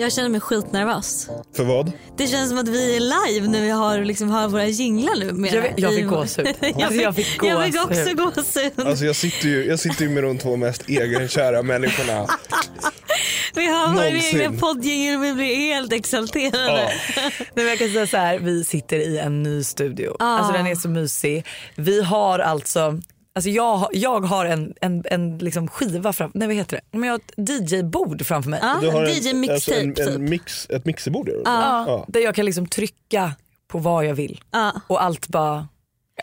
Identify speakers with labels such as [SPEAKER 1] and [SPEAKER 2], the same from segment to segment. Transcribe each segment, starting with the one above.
[SPEAKER 1] Jag känner mig skitnervös.
[SPEAKER 2] För vad?
[SPEAKER 1] Det känns som att vi är live när vi har, liksom, har våra jinglar nu. Med
[SPEAKER 3] Jag fick- jag fick
[SPEAKER 1] I-
[SPEAKER 3] gåshud.
[SPEAKER 1] jag,
[SPEAKER 3] Alltså,
[SPEAKER 1] fick,
[SPEAKER 3] jag fick
[SPEAKER 1] jag fick också
[SPEAKER 3] gåshud.
[SPEAKER 1] gåshud.
[SPEAKER 2] Alltså jag sitter ju, jag sitter ju med de två mest egenkära människorna.
[SPEAKER 1] vi har våra
[SPEAKER 2] någonsin.
[SPEAKER 1] egna poddjingel och vi blir helt
[SPEAKER 2] Ja.
[SPEAKER 1] exalterade.
[SPEAKER 3] Nej, men jag kan säga så här, vi sitter i en ny studio. Alltså den är så mysig. Vi har alltså, alltså jag, har- jag har en, en, en liksom skiva framför, nej vad heter det? Men jag har ett DJ-bord framför mig.
[SPEAKER 1] Ja,
[SPEAKER 2] Du har en-
[SPEAKER 1] DJ
[SPEAKER 2] alltså
[SPEAKER 1] mixtape
[SPEAKER 2] en,
[SPEAKER 1] typ.
[SPEAKER 2] en mix, ett mixerbord gör du?
[SPEAKER 3] Ja. Där jag kan liksom trycka på vad jag vill.
[SPEAKER 1] Ja.
[SPEAKER 3] Och allt bara,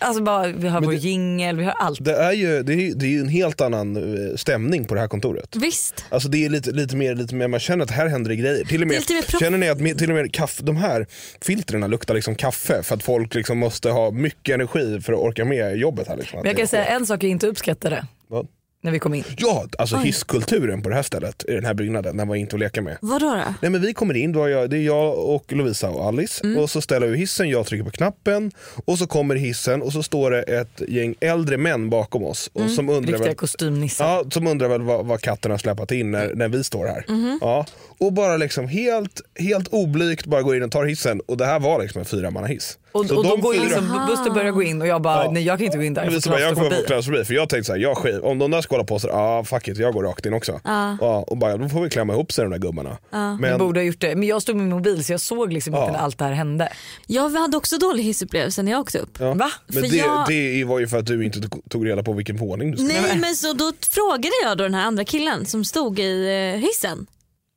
[SPEAKER 3] alltså bara vi har vår
[SPEAKER 2] det-
[SPEAKER 3] jingel, vi har allt.
[SPEAKER 2] Det är ju det är, ju- det är ju en helt annan eh, stämning på det här
[SPEAKER 1] Mm.
[SPEAKER 2] kontoret.
[SPEAKER 1] Visst.
[SPEAKER 2] Alltså det är lite, lite, mer, lite mer, man känner att här händer det grejer. Till och
[SPEAKER 1] Det är
[SPEAKER 2] med,
[SPEAKER 1] lite mer proff-
[SPEAKER 2] känner ni att me- till och med kaff, de här filtrerna luktar liksom kaffe för att folk liksom måste ha mycket energi för att orka med jobbet här. Liksom.
[SPEAKER 3] Men jag kan säga en sak jag inte uppskattade
[SPEAKER 2] Vad?
[SPEAKER 3] när vi kom in.
[SPEAKER 2] Ja, alltså hisskulturen på det här stället, i den här byggnaden, den var inte att leka med.
[SPEAKER 1] Vadå då?
[SPEAKER 2] Nej, men vi kommer in, då har jag, det är jag och Lovisa och Alice
[SPEAKER 3] Mm.
[SPEAKER 2] och så ställer vi hissen, jag trycker på knappen och så kommer hissen och så står det ett gäng äldre män bakom oss och som undrar
[SPEAKER 3] Mm. Riktiga
[SPEAKER 2] väl,
[SPEAKER 3] kostymnissar.
[SPEAKER 2] ja, som undrar väl vad, vad katten har släpat in när, när vi står här.
[SPEAKER 3] Mm-hmm.
[SPEAKER 2] Ja, och bara liksom helt, helt oblygt bara går in och tar hissen och det här var liksom en fyramannahiss.
[SPEAKER 3] Och,
[SPEAKER 2] Så
[SPEAKER 3] och då
[SPEAKER 2] de
[SPEAKER 3] går
[SPEAKER 2] fyra-
[SPEAKER 3] liksom, Buster börjar gå in och jag bara,
[SPEAKER 2] Ja.
[SPEAKER 3] nej jag kan inte gå in där, jag
[SPEAKER 2] Lovisa
[SPEAKER 3] får
[SPEAKER 2] bara, jag kommer få
[SPEAKER 3] klaustrofobi.
[SPEAKER 2] klaustrofobi för jag tänkte såhär, jag skiv, om de där ska hålla på så ah, fuck it, jag går rakt in också. Ja, och bara, då får vi klämma ihop sig de där gubbarna.
[SPEAKER 3] Jag
[SPEAKER 2] Men,
[SPEAKER 3] borde ha gjort det. Men jag stod med mobil så jag såg liksom
[SPEAKER 2] Ja.
[SPEAKER 3] inte när allt det här hände.
[SPEAKER 1] Jag hade också dålig hissupplevelse när jag åkte upp.
[SPEAKER 2] ja.
[SPEAKER 3] Va?
[SPEAKER 2] Men
[SPEAKER 1] För
[SPEAKER 2] det,
[SPEAKER 1] jag-
[SPEAKER 2] det var ju för att du inte tog- tog reda på vilken våning du skulle
[SPEAKER 1] Nej men så då frågade jag då den här andra killen som stod i eh, hissen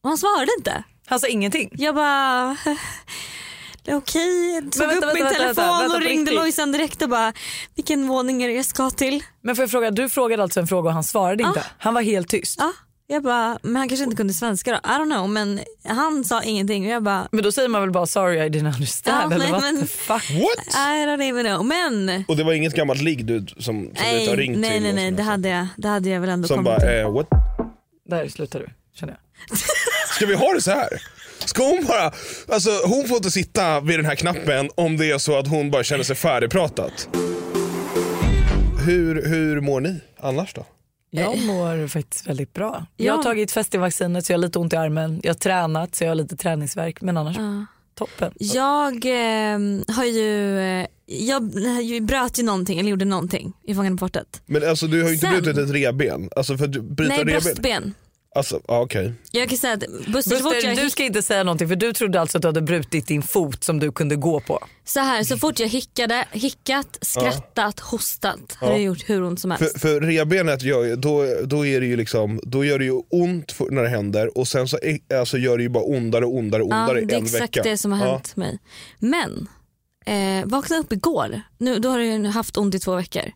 [SPEAKER 1] och han svarade inte.
[SPEAKER 3] Han sa ingenting.
[SPEAKER 1] Jag bara det är okej, tog
[SPEAKER 3] vänta,
[SPEAKER 1] upp min
[SPEAKER 3] vänta,
[SPEAKER 1] telefon
[SPEAKER 3] vänta, vänta,
[SPEAKER 1] och
[SPEAKER 3] på
[SPEAKER 1] ringde
[SPEAKER 3] riktigt.
[SPEAKER 1] Lojsan direkt och bara vilken våning är det jag ska till?
[SPEAKER 3] Men får jag fråga, du frågade alltså en fråga och han svarade inte. Han var helt tyst.
[SPEAKER 1] Ja, jag bara men han kanske inte kunde svenska då, I don't know men han sa ingenting och jag bara
[SPEAKER 3] Men då säger man väl bara sorry I didn't understand
[SPEAKER 1] Ja,
[SPEAKER 3] eller
[SPEAKER 1] nej,
[SPEAKER 3] what
[SPEAKER 1] men-
[SPEAKER 3] the fuck.
[SPEAKER 2] What?
[SPEAKER 1] I don't even know men
[SPEAKER 2] Och det var inget gammalt ligg du som, som du inte
[SPEAKER 1] nej
[SPEAKER 2] har ringt
[SPEAKER 1] nej
[SPEAKER 2] till?
[SPEAKER 1] nej,
[SPEAKER 2] och
[SPEAKER 1] nej
[SPEAKER 2] sådär.
[SPEAKER 1] det, hade jag, det hade jag väl ändå
[SPEAKER 2] Som
[SPEAKER 1] kommit till.
[SPEAKER 2] bara, eh, what?
[SPEAKER 3] Där slutar du känner jag.
[SPEAKER 2] Ska vi ha det så här? Ska hon bara, alltså hon får inte sitta vid den här knappen om det är så att hon bara känner sig färdigpratat. Hur, hur mår ni annars då?
[SPEAKER 3] Jag mår faktiskt väldigt bra.
[SPEAKER 1] Eh. Ja.
[SPEAKER 3] Jag har tagit festivaccinet så jag har lite ont i armen. Jag har tränat så jag har lite träningsvärk men annars toppen.
[SPEAKER 1] Jag eh, har ju, eh, jag, jag bröt ju någonting eller gjorde någonting i Fångarna på fortet.
[SPEAKER 2] Men alltså du har ju inte
[SPEAKER 1] Sen-
[SPEAKER 2] brutit ett revben. Alltså för att du- bryta
[SPEAKER 1] Nej
[SPEAKER 2] revben.
[SPEAKER 1] bröstben.
[SPEAKER 2] Alltså, ja, okej.
[SPEAKER 1] Jag kan säga att Buster, så fort jag
[SPEAKER 3] Buster, du
[SPEAKER 1] hick,
[SPEAKER 3] ska inte säga någonting för du trodde alltså att du hade brutit din fot som du kunde gå på.
[SPEAKER 1] så här, så fort jag hickade, hickat, skrattat, hostat har det gjort hur ont som helst.
[SPEAKER 2] För, för revbenet, gör, ju- då, då, är det ju liksom, då gör det ju ont för- när det händer och sen så är- alltså, gör det ju bara ondare och ondare och ondare
[SPEAKER 1] ja,
[SPEAKER 2] i en
[SPEAKER 1] det är
[SPEAKER 2] vecka.
[SPEAKER 1] exakt det som har
[SPEAKER 2] Ja.
[SPEAKER 1] hänt mig. Men eh, vaknade upp igår, nu, då har jag ju haft ont i två veckor.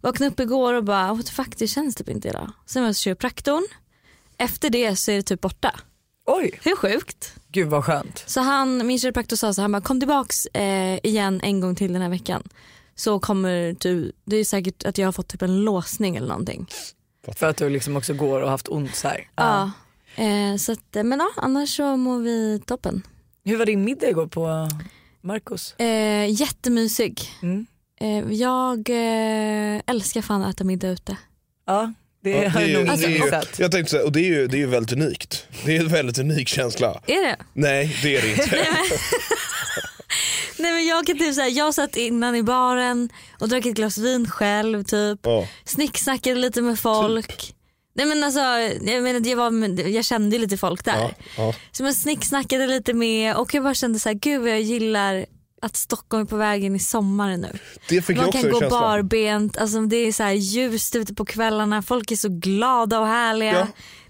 [SPEAKER 1] Vaknade upp igår och bara what the fuck det känns typ inte idag. Sen var jag hos kiropraktorn, efter det så är det typ borta.
[SPEAKER 3] Oj,
[SPEAKER 1] Hur sjukt?
[SPEAKER 3] gud vad skönt.
[SPEAKER 1] Så han, min kiropraktor sa så här, han bara kom tillbaks eh, igen en gång till den här veckan. Så kommer du, det är säkert att jag har fått typ en låsning eller någonting.
[SPEAKER 3] För att du liksom också går och haft ont så här.
[SPEAKER 1] Ja. Eh, så att, eh, men ja, annars så mår vi toppen.
[SPEAKER 3] Hur var din middag igår på Marcos?
[SPEAKER 1] Eh, jättemysig.
[SPEAKER 3] Mm.
[SPEAKER 1] Eh, jag eh, älskar fan att äta middag ute.
[SPEAKER 3] Ja, det
[SPEAKER 2] Ja,
[SPEAKER 3] har
[SPEAKER 2] det är
[SPEAKER 3] jag
[SPEAKER 2] ju-
[SPEAKER 3] nog
[SPEAKER 2] det
[SPEAKER 3] inte
[SPEAKER 2] är ju-
[SPEAKER 3] missat.
[SPEAKER 2] Jag tänkte säga, och det är ju, det är ju väldigt unikt. Det är en väldigt unik känsla.
[SPEAKER 1] Är det?
[SPEAKER 2] Nej, det är det inte.
[SPEAKER 1] Nej men jag kan typ säga, jag satt innan i baren och drack ett glas vin själv typ.
[SPEAKER 2] Ja. Typ.
[SPEAKER 1] Snicksnackade lite med folk. Nej men alltså, jag, menar, det var, jag kände ju lite folk där.
[SPEAKER 2] Ja, ja.
[SPEAKER 1] Som jag snicksnackade lite med och jag bara kände så här, gud vad jag gillar att Stockholm är på väg in i sommaren nu.
[SPEAKER 2] Det fick jag
[SPEAKER 1] Man
[SPEAKER 2] också
[SPEAKER 1] kan
[SPEAKER 2] en
[SPEAKER 1] gå
[SPEAKER 2] känsla av.
[SPEAKER 1] barbent, alltså det är så här ljust ute på kvällarna, folk är så glada och härliga.
[SPEAKER 2] Ja.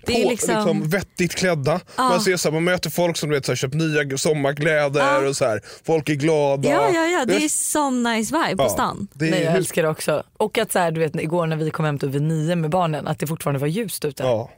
[SPEAKER 1] Det är
[SPEAKER 2] På-
[SPEAKER 1] liksom,
[SPEAKER 2] vettigt klädda. Man, ser så här, man möter folk som du vet, så här, köpt nya sommarkläder och så här. folk är glada.
[SPEAKER 1] ja, ja, ja, det är
[SPEAKER 2] vet,
[SPEAKER 1] sån nice vibe på stan.
[SPEAKER 2] Det
[SPEAKER 3] Nej,
[SPEAKER 2] är,
[SPEAKER 3] jag älskar det också. Och att så här, du vet igår när vi kom hem typ vid nio med barnen att det fortfarande var ljust ute.
[SPEAKER 2] ja.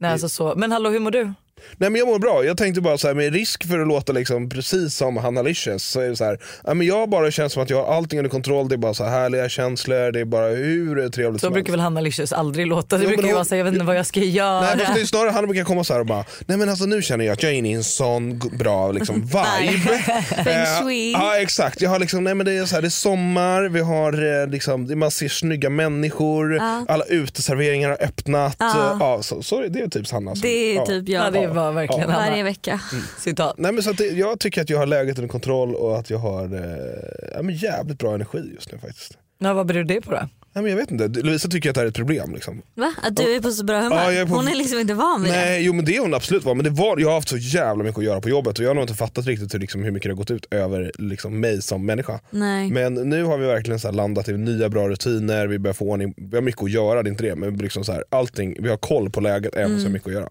[SPEAKER 3] Nej, alltså så. Men hallå hur mår du?
[SPEAKER 2] Nej, men jag mår bra. Jag tänkte bara så här, med risk för att låta liksom precis som Hanna Licious så är det så här, ja, men jag bara känns som att jag har allting under kontroll. Det är bara så här härliga känslor, det är bara hur trevligt
[SPEAKER 3] Så
[SPEAKER 2] som
[SPEAKER 3] brukar
[SPEAKER 2] helst.
[SPEAKER 3] väl Hanna Licious aldrig låta. Det
[SPEAKER 2] Jo, men
[SPEAKER 3] brukar ju
[SPEAKER 2] hon-
[SPEAKER 3] vara så här, jag vet inte vad jag ska göra.
[SPEAKER 2] Nej, fast det är snarare han brukar komma så här och bara, nej men alltså nu känner jag att jag är inne i en sån g- bra liksom, vibe.
[SPEAKER 1] Feng shui.
[SPEAKER 2] Eh, ja exakt, jag har liksom, nej men det är så här, det är sommar, vi har eh, liksom, man ser snygga människor, alla uteserveringar har öppnat. Ja. ja, så, så är det är typ Hanna. som-
[SPEAKER 1] Det är
[SPEAKER 2] ja. Mm.
[SPEAKER 1] typ
[SPEAKER 3] Ja,
[SPEAKER 1] jag
[SPEAKER 3] det var verkligen
[SPEAKER 1] varje
[SPEAKER 3] Hanna.
[SPEAKER 1] vecka.
[SPEAKER 3] Citat.
[SPEAKER 2] Nej, men så att det, jag tycker att jag har läget under kontroll och att jag har eh, ja, men jävligt bra energi just nu faktiskt.
[SPEAKER 3] Ja, vad beror det på då?
[SPEAKER 2] Nej, men jag vet inte, Lovisa tycker att det här är ett problem. Liksom.
[SPEAKER 1] Va? Att du är på så bra humör?
[SPEAKER 2] Ja, jag är på-
[SPEAKER 1] Hon är liksom inte van vid det.
[SPEAKER 2] Nej, jo men det är hon absolut var. Men det var, jag har haft så jävla mycket att göra på jobbet och jag har nog inte fattat riktigt hur, liksom, hur mycket det har gått ut över liksom, mig som människa.
[SPEAKER 1] Nej.
[SPEAKER 2] Men nu har vi verkligen så här landat i nya bra rutiner, vi börjar få ordning, vi har mycket att göra, det är inte det, men liksom så här, allting, vi har koll på läget även om vi har mycket att göra.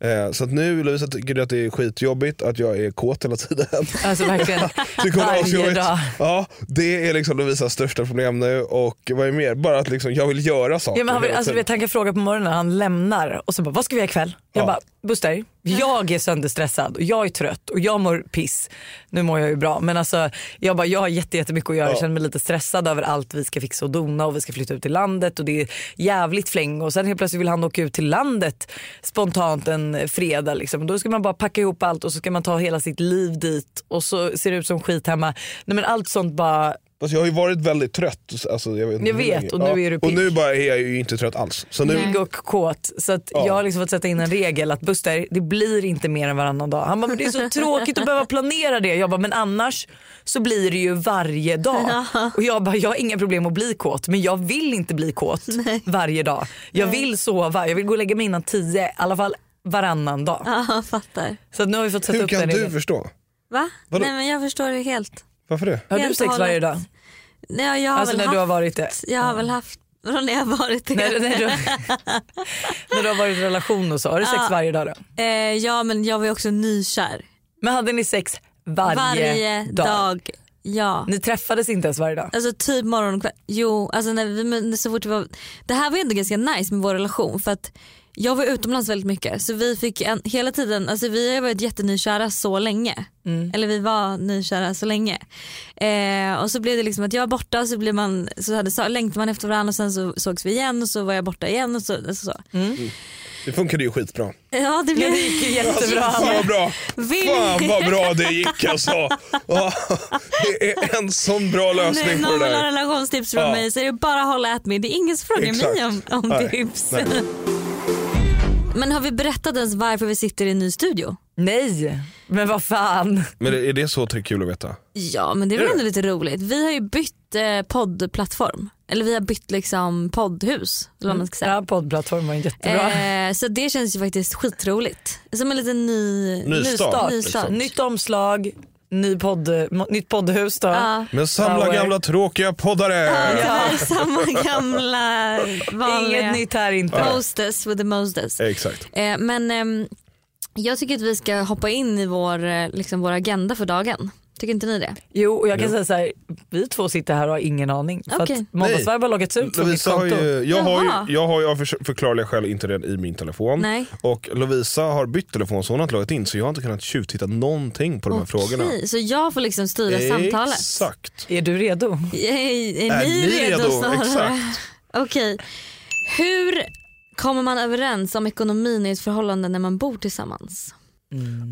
[SPEAKER 2] Eh, så att nu Lovisa tycker att det är skitjobbigt att jag är kåt hela tiden.
[SPEAKER 3] Alltså verkligen
[SPEAKER 2] Tycker hon är
[SPEAKER 3] varje
[SPEAKER 2] asjobbigt.
[SPEAKER 3] dag.
[SPEAKER 2] Ja, det är liksom Lovisas största problem nu och vad är mer? Bara att liksom jag vill göra saker
[SPEAKER 3] Ja, men han, vill-
[SPEAKER 2] hela
[SPEAKER 3] alltså, du
[SPEAKER 2] tiden.
[SPEAKER 3] vet, han kan fråga på morgonen när han lämnar och så bara, vad ska vi göra ikväll? Jag
[SPEAKER 2] Ja.
[SPEAKER 3] bara, Buster, jag är sönderstressad och jag är trött och jag mår piss. Nu mår jag ju bra men alltså jag bara, jag har jätte, jättemycket att göra. Jag känner mig lite stressad över allt vi ska fixa och dona och vi ska flytta ut till landet och det är jävligt fläng och sen helt plötsligt vill han åka ut till landet spontant en fredag liksom. Då ska man bara packa ihop allt och så ska man ta hela sitt liv dit och så ser det ut som skit hemma. Nej men allt sånt bara
[SPEAKER 2] Fast jag har ju varit väldigt trött. Alltså, jag vet, inte
[SPEAKER 3] Jag
[SPEAKER 2] hur
[SPEAKER 3] vet,
[SPEAKER 2] länge.
[SPEAKER 3] och nu är du
[SPEAKER 2] Och nu
[SPEAKER 3] pigg.
[SPEAKER 2] bara är jag ju inte trött alls. Så nu,
[SPEAKER 1] Nej.
[SPEAKER 3] pigg och kåt. Så att jag har liksom fått sätta in en regel att Buster, det blir inte mer än varannan dag. Han bara, men det är så tråkigt att behöva planera det. Jag bara, men annars så blir det ju varje dag. Och jag bara, jag har inga problem att bli kåt men jag vill inte bli kåt varje dag. Jag vill sova, jag vill gå och lägga mig innan tio, i alla fall varannan dag.
[SPEAKER 1] Ja, jag fattar.
[SPEAKER 3] Så att nu har vi fått sätta
[SPEAKER 2] hur
[SPEAKER 3] upp den
[SPEAKER 2] kan du
[SPEAKER 3] regeln.
[SPEAKER 2] förstå?
[SPEAKER 1] Va?
[SPEAKER 2] Vadå?
[SPEAKER 1] Nej men jag förstår det helt.
[SPEAKER 2] Varför det?
[SPEAKER 3] Har du
[SPEAKER 1] Helt och
[SPEAKER 3] sex varje
[SPEAKER 1] hållet.
[SPEAKER 3] dag?
[SPEAKER 1] Nej, jag har
[SPEAKER 3] Alltså
[SPEAKER 1] väl
[SPEAKER 3] när
[SPEAKER 1] haft,
[SPEAKER 3] du har varit det?
[SPEAKER 1] Jag har väl haft, vadå när jag har varit det?
[SPEAKER 3] När, när, du, när du har varit i relation och så, har du sex varje dag då?
[SPEAKER 1] Eh, ja men jag var ju också nykär.
[SPEAKER 3] Men hade ni sex varje,
[SPEAKER 1] dag. Ja.
[SPEAKER 3] Ni träffades inte ens varje dag?
[SPEAKER 1] Alltså typ morgon och kväll. Jo, alltså när vi, men så fort vi var, det här var ändå ganska nice med vår relation för att jag var utomlands väldigt mycket så vi fick en, hela tiden, alltså vi har ju varit jättenykära så länge.
[SPEAKER 2] Mm.
[SPEAKER 1] Eller vi var nykära så länge. Eh, och så blev det liksom att jag var borta och så, blev man, så, hade, så längtade man efter varandra och sen så sågs vi igen och så var jag borta igen och så. Alltså så.
[SPEAKER 2] Det funkade ju skitbra.
[SPEAKER 1] Ja det blev
[SPEAKER 3] Det gick ju jättebra.
[SPEAKER 2] Fan vad bra!
[SPEAKER 1] Vill-
[SPEAKER 2] Fan vad bra det gick alltså! Ja, det är en sån bra
[SPEAKER 1] Nu,
[SPEAKER 2] lösning på
[SPEAKER 1] någon
[SPEAKER 2] det
[SPEAKER 1] vill ha
[SPEAKER 2] där.
[SPEAKER 1] relationstips från
[SPEAKER 2] Ja.
[SPEAKER 1] mig så är det bara att hålla at me. Det är ingen som frågar
[SPEAKER 2] Exakt.
[SPEAKER 1] mig om, om
[SPEAKER 2] Nej.
[SPEAKER 1] tips.
[SPEAKER 2] Nej.
[SPEAKER 1] Men har vi berättat ens varför vi sitter i en ny studio?
[SPEAKER 3] Nej, men vad fan.
[SPEAKER 2] Men är det så tr- kul att veta?
[SPEAKER 1] Ja men det är väl ändå lite roligt. Vi har ju bytt eh, poddplattform. Eller vi har bytt liksom poddhus. Eller vad man ska
[SPEAKER 3] Den
[SPEAKER 1] säga.
[SPEAKER 3] här poddplattformen var jättebra.
[SPEAKER 1] Eh, Mm. så det känns ju faktiskt skitroligt. Som en liten ny,
[SPEAKER 2] Ny start,
[SPEAKER 1] Ny
[SPEAKER 2] liksom.
[SPEAKER 1] start.
[SPEAKER 3] Nytt omslag, ny podd, mo- nytt poddhus då.
[SPEAKER 2] Men samla
[SPEAKER 3] Power.
[SPEAKER 2] gamla tråkiga poddare!
[SPEAKER 1] Tyvärr samma gamla vanliga.
[SPEAKER 3] Inget nytt här inte.
[SPEAKER 1] Mostest with the mostest.
[SPEAKER 2] Exakt.
[SPEAKER 1] Eh, men ehm, jag tycker att vi ska hoppa in i vår, eh, liksom, vår agenda för dagen. Tycker inte ni det?
[SPEAKER 3] Jo, och jag kan säga så här, vi två sitter här och har ingen aning. För
[SPEAKER 1] Okej.
[SPEAKER 3] att Måndagsvarv har loggats ut från mitt
[SPEAKER 2] Lovisa har
[SPEAKER 3] konto.
[SPEAKER 2] ju, jag, har
[SPEAKER 1] Jaha.
[SPEAKER 2] ju, jag har ju av förs- förklarliga skäl inte den i min telefon.
[SPEAKER 1] Nej.
[SPEAKER 2] Och Lovisa har bytt telefon så hon har inte loggat in så jag har inte kunnat tjuvtitta någonting på de här frågorna.
[SPEAKER 1] Okej, så jag får liksom styra samtalet.
[SPEAKER 2] Exakt.
[SPEAKER 3] Är du redo?
[SPEAKER 1] Är, är, ni redo, snarare?
[SPEAKER 2] Exakt.
[SPEAKER 1] Okej. Hur kommer man överens om ekonomin i ett förhållande när man bor tillsammans?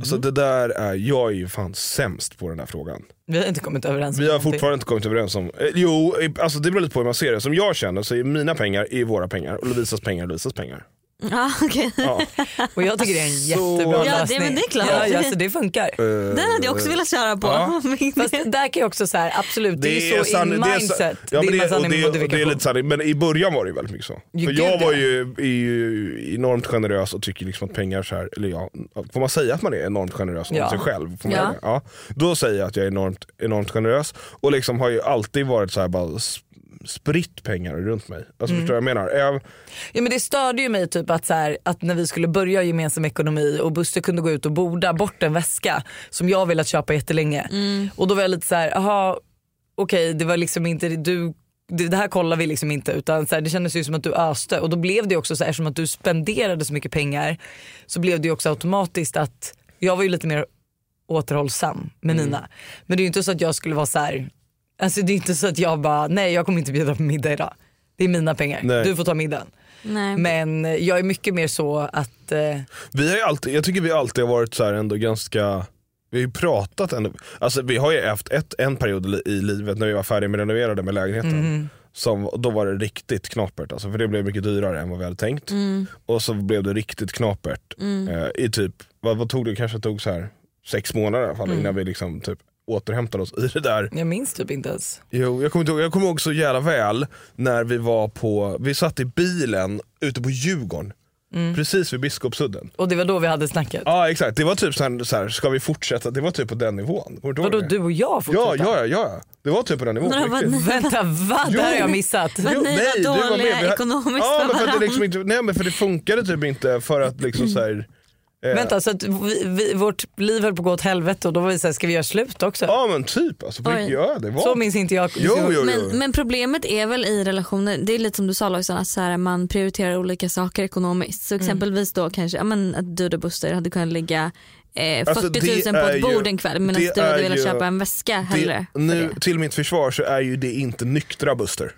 [SPEAKER 2] Alltså det där är, jag är ju fan sämst på den här frågan.
[SPEAKER 3] Vi har inte kommit överens. om
[SPEAKER 2] Vi har
[SPEAKER 3] någonting.
[SPEAKER 2] fortfarande inte kommit överens om, eh, jo eh, alltså det beror lite på hur man ser det. Som jag känner så är mina pengar är våra pengar och Lovisas pengar är Lovisas pengar.
[SPEAKER 1] Ja, okej.
[SPEAKER 2] Ja.
[SPEAKER 3] Och jag tycker det är en jättebra
[SPEAKER 2] Ja,
[SPEAKER 1] det-
[SPEAKER 3] lösning.
[SPEAKER 1] men det är klart.
[SPEAKER 3] Ja, ja, så det funkar.
[SPEAKER 1] Den hade
[SPEAKER 2] eh,
[SPEAKER 1] jag också velat köra på.
[SPEAKER 2] Ja.
[SPEAKER 3] Fast där kan jag också så här, absolut det, är ju så
[SPEAKER 2] sann-
[SPEAKER 3] i
[SPEAKER 2] det är
[SPEAKER 3] mindset.
[SPEAKER 2] sa- ja, men
[SPEAKER 3] det är
[SPEAKER 2] det,
[SPEAKER 3] med
[SPEAKER 2] och
[SPEAKER 3] sanning
[SPEAKER 2] det,
[SPEAKER 3] med
[SPEAKER 2] och det är
[SPEAKER 3] modifikation.
[SPEAKER 2] lite sanning, men i början var det ju väldigt mycket så.
[SPEAKER 3] Ju
[SPEAKER 2] För
[SPEAKER 3] gud,
[SPEAKER 2] jag var
[SPEAKER 3] ja.
[SPEAKER 2] ju, är ju enormt generös och tycker liksom att pengar så här, eller ja, får man säga att man är enormt generös mot
[SPEAKER 3] Ja.
[SPEAKER 2] sig själv? Får man
[SPEAKER 1] Ja.
[SPEAKER 2] göra det? Ja. Då säger jag att jag är enormt, enormt generös och liksom har ju alltid varit så här bara sp- spritt pengar runt mig.
[SPEAKER 3] Mm.
[SPEAKER 2] Alltså förstår du vad jag menar? Jag,
[SPEAKER 3] Ja, men det störde ju mig typ att, så här, att när vi skulle börja gemensam ekonomi och Buster kunde gå ut och borda bort en väska som jag velat köpa jättelänge. Och då var jag lite så här, aha, okej det var liksom inte du det det här kollar vi liksom inte utan så här, det kändes ju som att du öste och då blev det också så här, eftersom att du spenderade så mycket pengar så blev det ju också automatiskt att jag var ju lite mer återhållsam med mina. Men det är ju inte så att jag skulle vara så här, alltså det är inte så att jag bara nej jag kommer inte bjuda på middag idag. Det är mina pengar,
[SPEAKER 2] Nej.
[SPEAKER 3] du får ta middagen.
[SPEAKER 1] Nej.
[SPEAKER 3] Men eh, jag är mycket mer så att eh,
[SPEAKER 2] Vi har ju alltid, jag tycker vi alltid har varit så här ändå ganska vi har ju pratat ändå. Alltså vi har ju haft ett, en period i li- i livet när vi var färdiga med renoverade med lägenheten. Som, då var det riktigt knapert alltså, för det blev mycket dyrare än vad vi hade tänkt. Och så blev det riktigt knapert eh, i typ, vad, vad tog det? kanske tog så här sex månader i alla fall innan vi liksom typ återhämtade oss i det där.
[SPEAKER 3] jag minns typ inte ens.
[SPEAKER 2] Jo, jag kommer, inte ihåg, jag kommer ihåg så jävla väl när vi var på, vi satt i bilen ute på Djurgården. Precis vid Biskopsudden.
[SPEAKER 3] Och det var då vi hade snacket.
[SPEAKER 2] Ja exakt, det var typ så här, så här ska vi fortsätta? Det var typ på den nivån. Kommer ihåg
[SPEAKER 3] Vadå
[SPEAKER 2] det?
[SPEAKER 3] du och jag
[SPEAKER 2] Ja,
[SPEAKER 3] fortsatte?
[SPEAKER 2] ja, ja, ja. Det var typ på den nivån.
[SPEAKER 1] När de var-
[SPEAKER 2] riktigt.
[SPEAKER 3] Vänta vad? Det här har jag missat.
[SPEAKER 1] Men ni var
[SPEAKER 2] du med.
[SPEAKER 1] dåliga
[SPEAKER 2] Vi ha-
[SPEAKER 1] ekonomiskt
[SPEAKER 2] ja,
[SPEAKER 1] för
[SPEAKER 2] men för att det
[SPEAKER 1] varandra.
[SPEAKER 2] liksom inte, Nej men för det funkade typ inte för att liksom så här, eh,
[SPEAKER 3] Vänta så att vi, vi, vårt liv höll på att gå åt helvete och då var vi såhär, ska vi göra slut också?
[SPEAKER 2] Ja men typ alltså, på
[SPEAKER 1] Oj.
[SPEAKER 2] riktigt, ja, det var.
[SPEAKER 3] Så minns inte jag.
[SPEAKER 2] Jo, jo, jo.
[SPEAKER 1] Men, men problemet är väl i relationer, det är lite som du sa Lojsan, att så här, man prioriterar olika saker ekonomiskt. Så
[SPEAKER 2] Mm.
[SPEAKER 1] exempelvis då kanske ja, men, att du och Buster hade kunnat lägga eh, 40
[SPEAKER 2] Alltså,
[SPEAKER 1] 000
[SPEAKER 2] det
[SPEAKER 1] på
[SPEAKER 2] är
[SPEAKER 1] ett
[SPEAKER 2] ju-
[SPEAKER 1] bord en kväll medan
[SPEAKER 2] det
[SPEAKER 1] du hade
[SPEAKER 2] är
[SPEAKER 1] velat
[SPEAKER 2] ju-
[SPEAKER 1] köpa en väska hellre.
[SPEAKER 2] det, nu, till mitt försvar så är ju det inte nyktra Buster.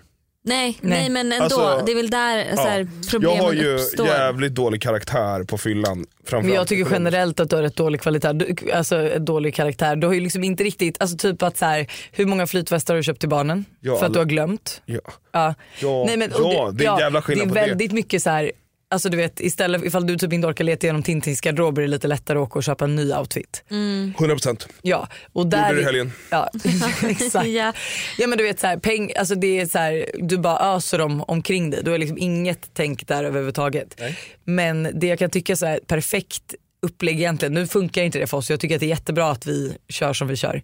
[SPEAKER 1] Nej, nej,
[SPEAKER 3] Nej.
[SPEAKER 1] men ändå,
[SPEAKER 2] Alltså,
[SPEAKER 1] det är väl där så här,
[SPEAKER 2] Jag
[SPEAKER 1] problemen
[SPEAKER 2] har ju
[SPEAKER 1] uppstår.
[SPEAKER 2] jävligt dålig karaktär på fyllan.
[SPEAKER 3] Men
[SPEAKER 2] framförallt
[SPEAKER 3] jag tycker
[SPEAKER 2] ekonomiskt.
[SPEAKER 3] generellt att du har rätt dålig kvalitet, du, alltså ett dålig karaktär. Du har ju liksom inte riktigt, alltså typ att så här, hur många flytvästar har du köpt till barnen?
[SPEAKER 2] Ja,
[SPEAKER 3] för att du
[SPEAKER 2] alla-
[SPEAKER 3] har glömt?
[SPEAKER 2] Ja.
[SPEAKER 3] Ja,
[SPEAKER 2] Ja,
[SPEAKER 3] och
[SPEAKER 2] ja, det är en jävla skillnad
[SPEAKER 3] Det är
[SPEAKER 2] på det.
[SPEAKER 3] väldigt mycket så här, alltså du vet istället ifall du typ inte orkar leta igenom Tintins garderob är det lite lättare att åka och köpa en ny outfit.
[SPEAKER 1] Mm.
[SPEAKER 2] 100%.
[SPEAKER 3] Ja, och där...
[SPEAKER 2] du i helgen.
[SPEAKER 3] Ja, exakt.
[SPEAKER 1] Ja.
[SPEAKER 3] ja. men du vet så här, peng, alltså det är så här, du bara öser dem omkring dig. Du har liksom inget tänk där överhuvudtaget. Men det jag kan tycka så här, perfekt upplägg egentligen, nu funkar inte det för oss. Jag tycker att det är jättebra att vi kör som vi kör.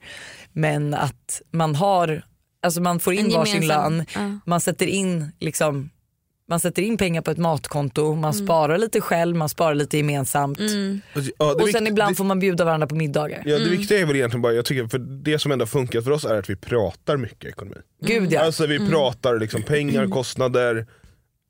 [SPEAKER 3] Men att man har, alltså man får in
[SPEAKER 1] En
[SPEAKER 3] varsin
[SPEAKER 1] gemensam,
[SPEAKER 3] lön,
[SPEAKER 1] ja.
[SPEAKER 3] man sätter in liksom man sätter in pengar på ett matkonto, man sparar lite själv, man sparar lite gemensamt.
[SPEAKER 2] Ja, det
[SPEAKER 3] Och sen
[SPEAKER 2] vikt-
[SPEAKER 3] ibland
[SPEAKER 2] det-
[SPEAKER 3] får man bjuda varandra på middagar.
[SPEAKER 2] Ja, det viktiga är väl egentligen bara, jag tycker, för det som ändå har funkat för oss är att vi pratar mycket ekonomi.
[SPEAKER 3] Gud ja. Mm.
[SPEAKER 2] Alltså vi pratar liksom pengar, kostnader,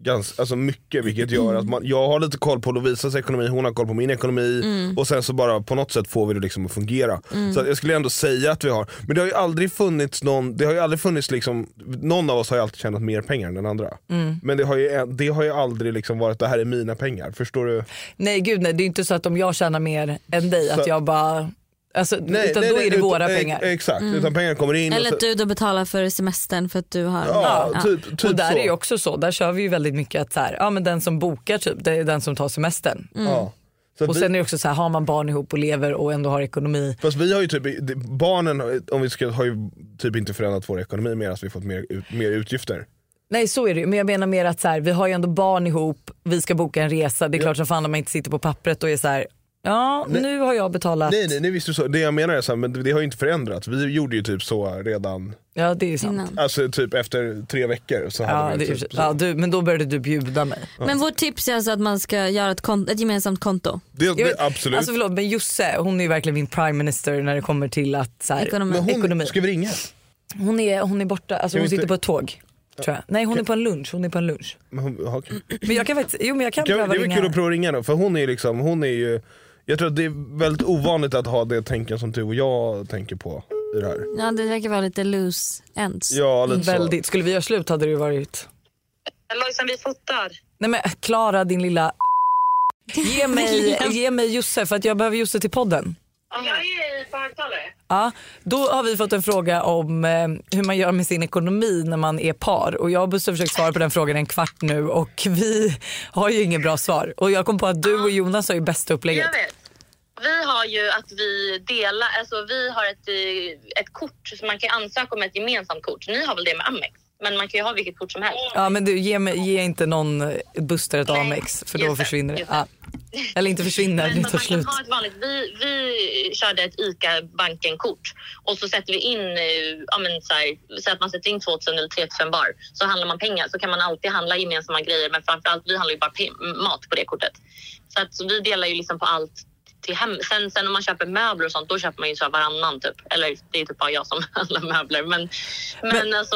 [SPEAKER 2] gans, alltså mycket vilket gör att man, jag har lite koll på Lovisas ekonomi, hon har koll på min ekonomi
[SPEAKER 3] Mm.
[SPEAKER 2] och sen så bara på något sätt får vi det liksom att fungera. Så att jag skulle ändå säga att vi har, men det har ju aldrig funnits någon, det har ju aldrig funnits liksom, någon av oss har ju alltid tjänat mer pengar än den andra.
[SPEAKER 3] Mm.
[SPEAKER 2] Men det har, ju, det har ju aldrig liksom varit, det här är mina pengar, förstår du?
[SPEAKER 3] Nej gud nej, det är inte så att om jag tjänar mer än dig att
[SPEAKER 2] Så-
[SPEAKER 3] jag bara, alltså, utan då är det våra
[SPEAKER 2] utan-
[SPEAKER 3] pengar. Mm.
[SPEAKER 2] ex- Exakt, utan pengar kommer in. och
[SPEAKER 1] Eller
[SPEAKER 2] så-
[SPEAKER 1] att du då betalar för semestern för att du har...
[SPEAKER 2] Ja, typ, typ
[SPEAKER 3] och där
[SPEAKER 2] så.
[SPEAKER 3] är ju också så, där kör vi ju väldigt mycket att så här, ja, men den som bokar typ, det är den som tar semestern.
[SPEAKER 2] Ja. Så att
[SPEAKER 3] Mm. Och
[SPEAKER 2] vi,
[SPEAKER 3] sen är det också så här, har man barn ihop och lever och ändå har ekonomi.
[SPEAKER 2] fast vi har ju typ, det- barnen har- om vi ska, har ju typ inte förändrat vår ekonomi mer, att vi fått mer, ut, mer utgifter.
[SPEAKER 3] Nej så är det ju, men jag menar mer att så här, vi har ju ändå barn ihop, vi ska boka en resa, det är klart som fan om man inte sitter på pappret och är så här, ja nu har jag betalat.
[SPEAKER 2] Nej, nej, nej visst du så. Det jag menar är så här, men det har ju inte förändrats. Vi gjorde ju typ så redan,
[SPEAKER 3] Ja det är ju sant.
[SPEAKER 1] Innan.
[SPEAKER 2] alltså typ efter tre veckor. Så
[SPEAKER 3] Ja,
[SPEAKER 2] hade
[SPEAKER 3] det
[SPEAKER 2] vi
[SPEAKER 3] är,
[SPEAKER 2] typ, så.
[SPEAKER 3] ja, du, men då började du bjuda mig.
[SPEAKER 1] Men vårt tips är alltså att man ska göra ett, kont- ett gemensamt konto.
[SPEAKER 2] det,
[SPEAKER 3] Jag
[SPEAKER 2] det,
[SPEAKER 3] vet,
[SPEAKER 2] absolut.
[SPEAKER 3] Alltså förlåt men Josse hon är ju verkligen min prime minister när det kommer till att så här,
[SPEAKER 1] Ekonomi.
[SPEAKER 2] men hon,
[SPEAKER 3] ekonomi.
[SPEAKER 2] Ska vi ringa?
[SPEAKER 3] Hon, är, hon är borta, alltså
[SPEAKER 2] Kan
[SPEAKER 3] hon
[SPEAKER 2] vi
[SPEAKER 3] sitter
[SPEAKER 2] inte-
[SPEAKER 3] på ett tåg. Tror jag. Nej hon är på en lunch, hon är på en lunch.
[SPEAKER 2] Men hon, ja, okej.
[SPEAKER 3] Men jag kan faktiskt, jo men jag kan,
[SPEAKER 2] Kan, vi-
[SPEAKER 3] pröva
[SPEAKER 2] det är väl
[SPEAKER 3] ringa
[SPEAKER 2] kul att
[SPEAKER 3] henne.
[SPEAKER 2] prova ringa då, för hon är ju liksom, hon är ju, jag tror att det är väldigt ovanligt att ha det tänken som du och jag tänker på i det här.
[SPEAKER 1] Ja, det verkar vara lite loose ends.
[SPEAKER 2] Ja, lite så.
[SPEAKER 3] Väldigt, skulle vi göra slut hade det ju varit.
[SPEAKER 4] Lojsan, vi fotar.
[SPEAKER 3] Nej men Klara din lilla Ge mig, ge mig Josse för att jag behöver Josse till podden.
[SPEAKER 4] Jag är i på högtalare?
[SPEAKER 3] Ja, då har vi fått en fråga om eh, hur man gör med sin ekonomi när man är par. Och jag och Buster har försökt svara på den frågan en kvart nu och vi har ju inget bra svar. Och jag kom på att du och Jonas har ju bästa upplägget.
[SPEAKER 4] Jag vet. Vi har ju att vi delar, alltså vi har ett, eh, ett kort som man kan ansöka om ett gemensamt kort. Ni har väl det med Amex? Men man kan ju ha vilket kort som helst.
[SPEAKER 3] Ja men du, ge, mig, ge inte någon eh, Buster ett
[SPEAKER 4] Nej,
[SPEAKER 3] Amex för då
[SPEAKER 4] just det,
[SPEAKER 3] försvinner det.
[SPEAKER 4] just
[SPEAKER 3] Ja.
[SPEAKER 4] det.
[SPEAKER 3] Eller inte försvinner,
[SPEAKER 4] Men
[SPEAKER 3] det
[SPEAKER 4] man
[SPEAKER 3] tar
[SPEAKER 4] kan
[SPEAKER 3] slut.
[SPEAKER 4] ha ett vanligt, vi, vi körde ett ICA-banken-kort och så sätter vi in, eh, ja men så här, så att man sätter in 2000 eller 3000 var så handlar man pengar så kan man alltid handla gemensamma grejer men framförallt vi handlar ju bara pe- mat på det kortet. Så att så vi delar ju liksom på allt till hem. Sen, sen om man köper möbler och sånt då köper man ju så här varannan typ. Eller det är typ bara jag som handlar möbler men, men, alltså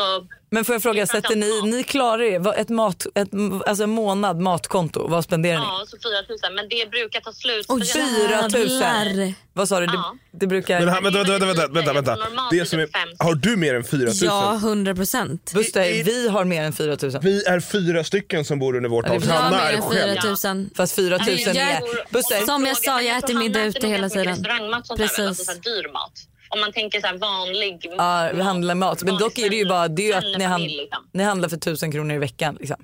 [SPEAKER 3] Men får jag fråga,
[SPEAKER 4] Det är
[SPEAKER 3] sätter ni,
[SPEAKER 4] framförallt
[SPEAKER 3] ni klarar er? Vad- Ett mat, ett, alltså en månad matkonto, vad spenderar ni?
[SPEAKER 4] ja så 4000 men det brukar ta slut.
[SPEAKER 1] Oj,
[SPEAKER 4] speciellt-
[SPEAKER 1] fyra
[SPEAKER 3] 4 000.
[SPEAKER 1] Jävlar.
[SPEAKER 3] Vad sa du?
[SPEAKER 4] Ja.
[SPEAKER 3] Det, det brukar...
[SPEAKER 2] Men här, vänta, vänta, vänta, vänta, vänta.
[SPEAKER 4] Normalt är
[SPEAKER 2] Det
[SPEAKER 4] det
[SPEAKER 2] som är,
[SPEAKER 4] fem.
[SPEAKER 2] har du mer än 4 000?
[SPEAKER 1] Ja, 100 procent.
[SPEAKER 3] Buster, vi har mer än 4 000.
[SPEAKER 2] Vi är fyra stycken som bor under vårt tak.
[SPEAKER 3] Jag
[SPEAKER 1] Jag
[SPEAKER 2] Hanna
[SPEAKER 1] mer
[SPEAKER 2] är
[SPEAKER 1] än
[SPEAKER 2] själv.
[SPEAKER 1] 4 000.
[SPEAKER 3] Fast 4 000
[SPEAKER 1] Nej, Alltså, jag-
[SPEAKER 3] är... Buster,
[SPEAKER 1] Som jag sa, jag äter middag ute hela tiden.
[SPEAKER 4] Restaurangmat sånt
[SPEAKER 1] Precis.
[SPEAKER 4] Där, alltså så här dyr mat. Om man tänker så här vanlig
[SPEAKER 3] ja, vi handlar mat. Men
[SPEAKER 4] vanlig
[SPEAKER 3] dock är det ju
[SPEAKER 4] svensk-
[SPEAKER 3] bara det är ju att
[SPEAKER 4] svensk
[SPEAKER 3] ni, hand,
[SPEAKER 4] familj, liksom.
[SPEAKER 3] ni handlar för 1000 kronor i veckan. Liksom.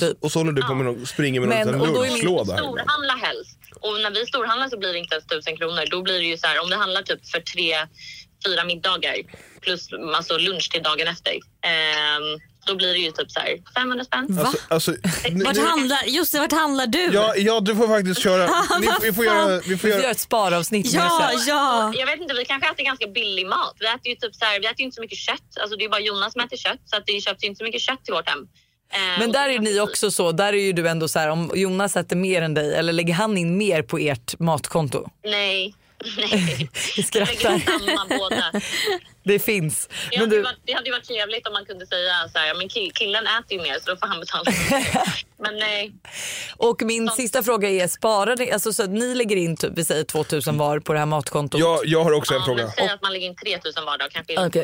[SPEAKER 3] Typ.
[SPEAKER 2] Och så håller du på med någon, springer med
[SPEAKER 3] Men-
[SPEAKER 2] någon
[SPEAKER 3] och
[SPEAKER 2] liten
[SPEAKER 3] då är min
[SPEAKER 2] lunchlåda. här ibland.
[SPEAKER 4] Storhandla helst. Och när vi storhandlar så blir det inte ens tusen kronor. Då blir det ju så här, om du handlar typ för tre, fyra middagar plus alltså lunch till dagen efter. ehm, då blir det ju typ så här 500 spänn.
[SPEAKER 1] Va?
[SPEAKER 2] Alltså, nu-
[SPEAKER 1] Vart handlar, just det, vart handlar du?
[SPEAKER 2] ja, ja, du får faktiskt köra. Ni, vi får göra... Vi får
[SPEAKER 3] Vi gör
[SPEAKER 2] göra
[SPEAKER 3] ett sparavsnitt. med
[SPEAKER 1] ja,
[SPEAKER 3] det sen.
[SPEAKER 1] ja.
[SPEAKER 4] Jag vet inte, vi kanske äter ganska billig mat. Vi äter ju typ så här, vi äter ju inte så mycket kött. Alltså det är bara Jonas som äter kött så att det köps ju inte så mycket kött till vårt hem. Ehm,
[SPEAKER 3] Men där
[SPEAKER 4] och så
[SPEAKER 3] är
[SPEAKER 4] kanske
[SPEAKER 3] ni
[SPEAKER 4] vi-
[SPEAKER 3] också så, där är ju du ändå så här om Jonas sätter mer än dig eller lägger han in mer på ert matkonto?
[SPEAKER 4] Nej. Nej.
[SPEAKER 3] Vi skrattar.
[SPEAKER 4] Samma båda.
[SPEAKER 3] Det finns.
[SPEAKER 4] Det
[SPEAKER 3] Men
[SPEAKER 4] hade, ju
[SPEAKER 3] du,
[SPEAKER 4] varit, det hade ju varit trevligt om man kunde säga så här, "Ja, men kill, killen äter ju mer så då får han betala. men eh, nej,
[SPEAKER 3] och min sista fråga är, sparar ni, alltså så att ni lägger in typ, vi säger 2000 var på det här matkontot?
[SPEAKER 2] jag, jag har också en
[SPEAKER 4] ja, men
[SPEAKER 2] fråga.
[SPEAKER 4] säg att man lägger in 3000 var då kanske är
[SPEAKER 3] Okej.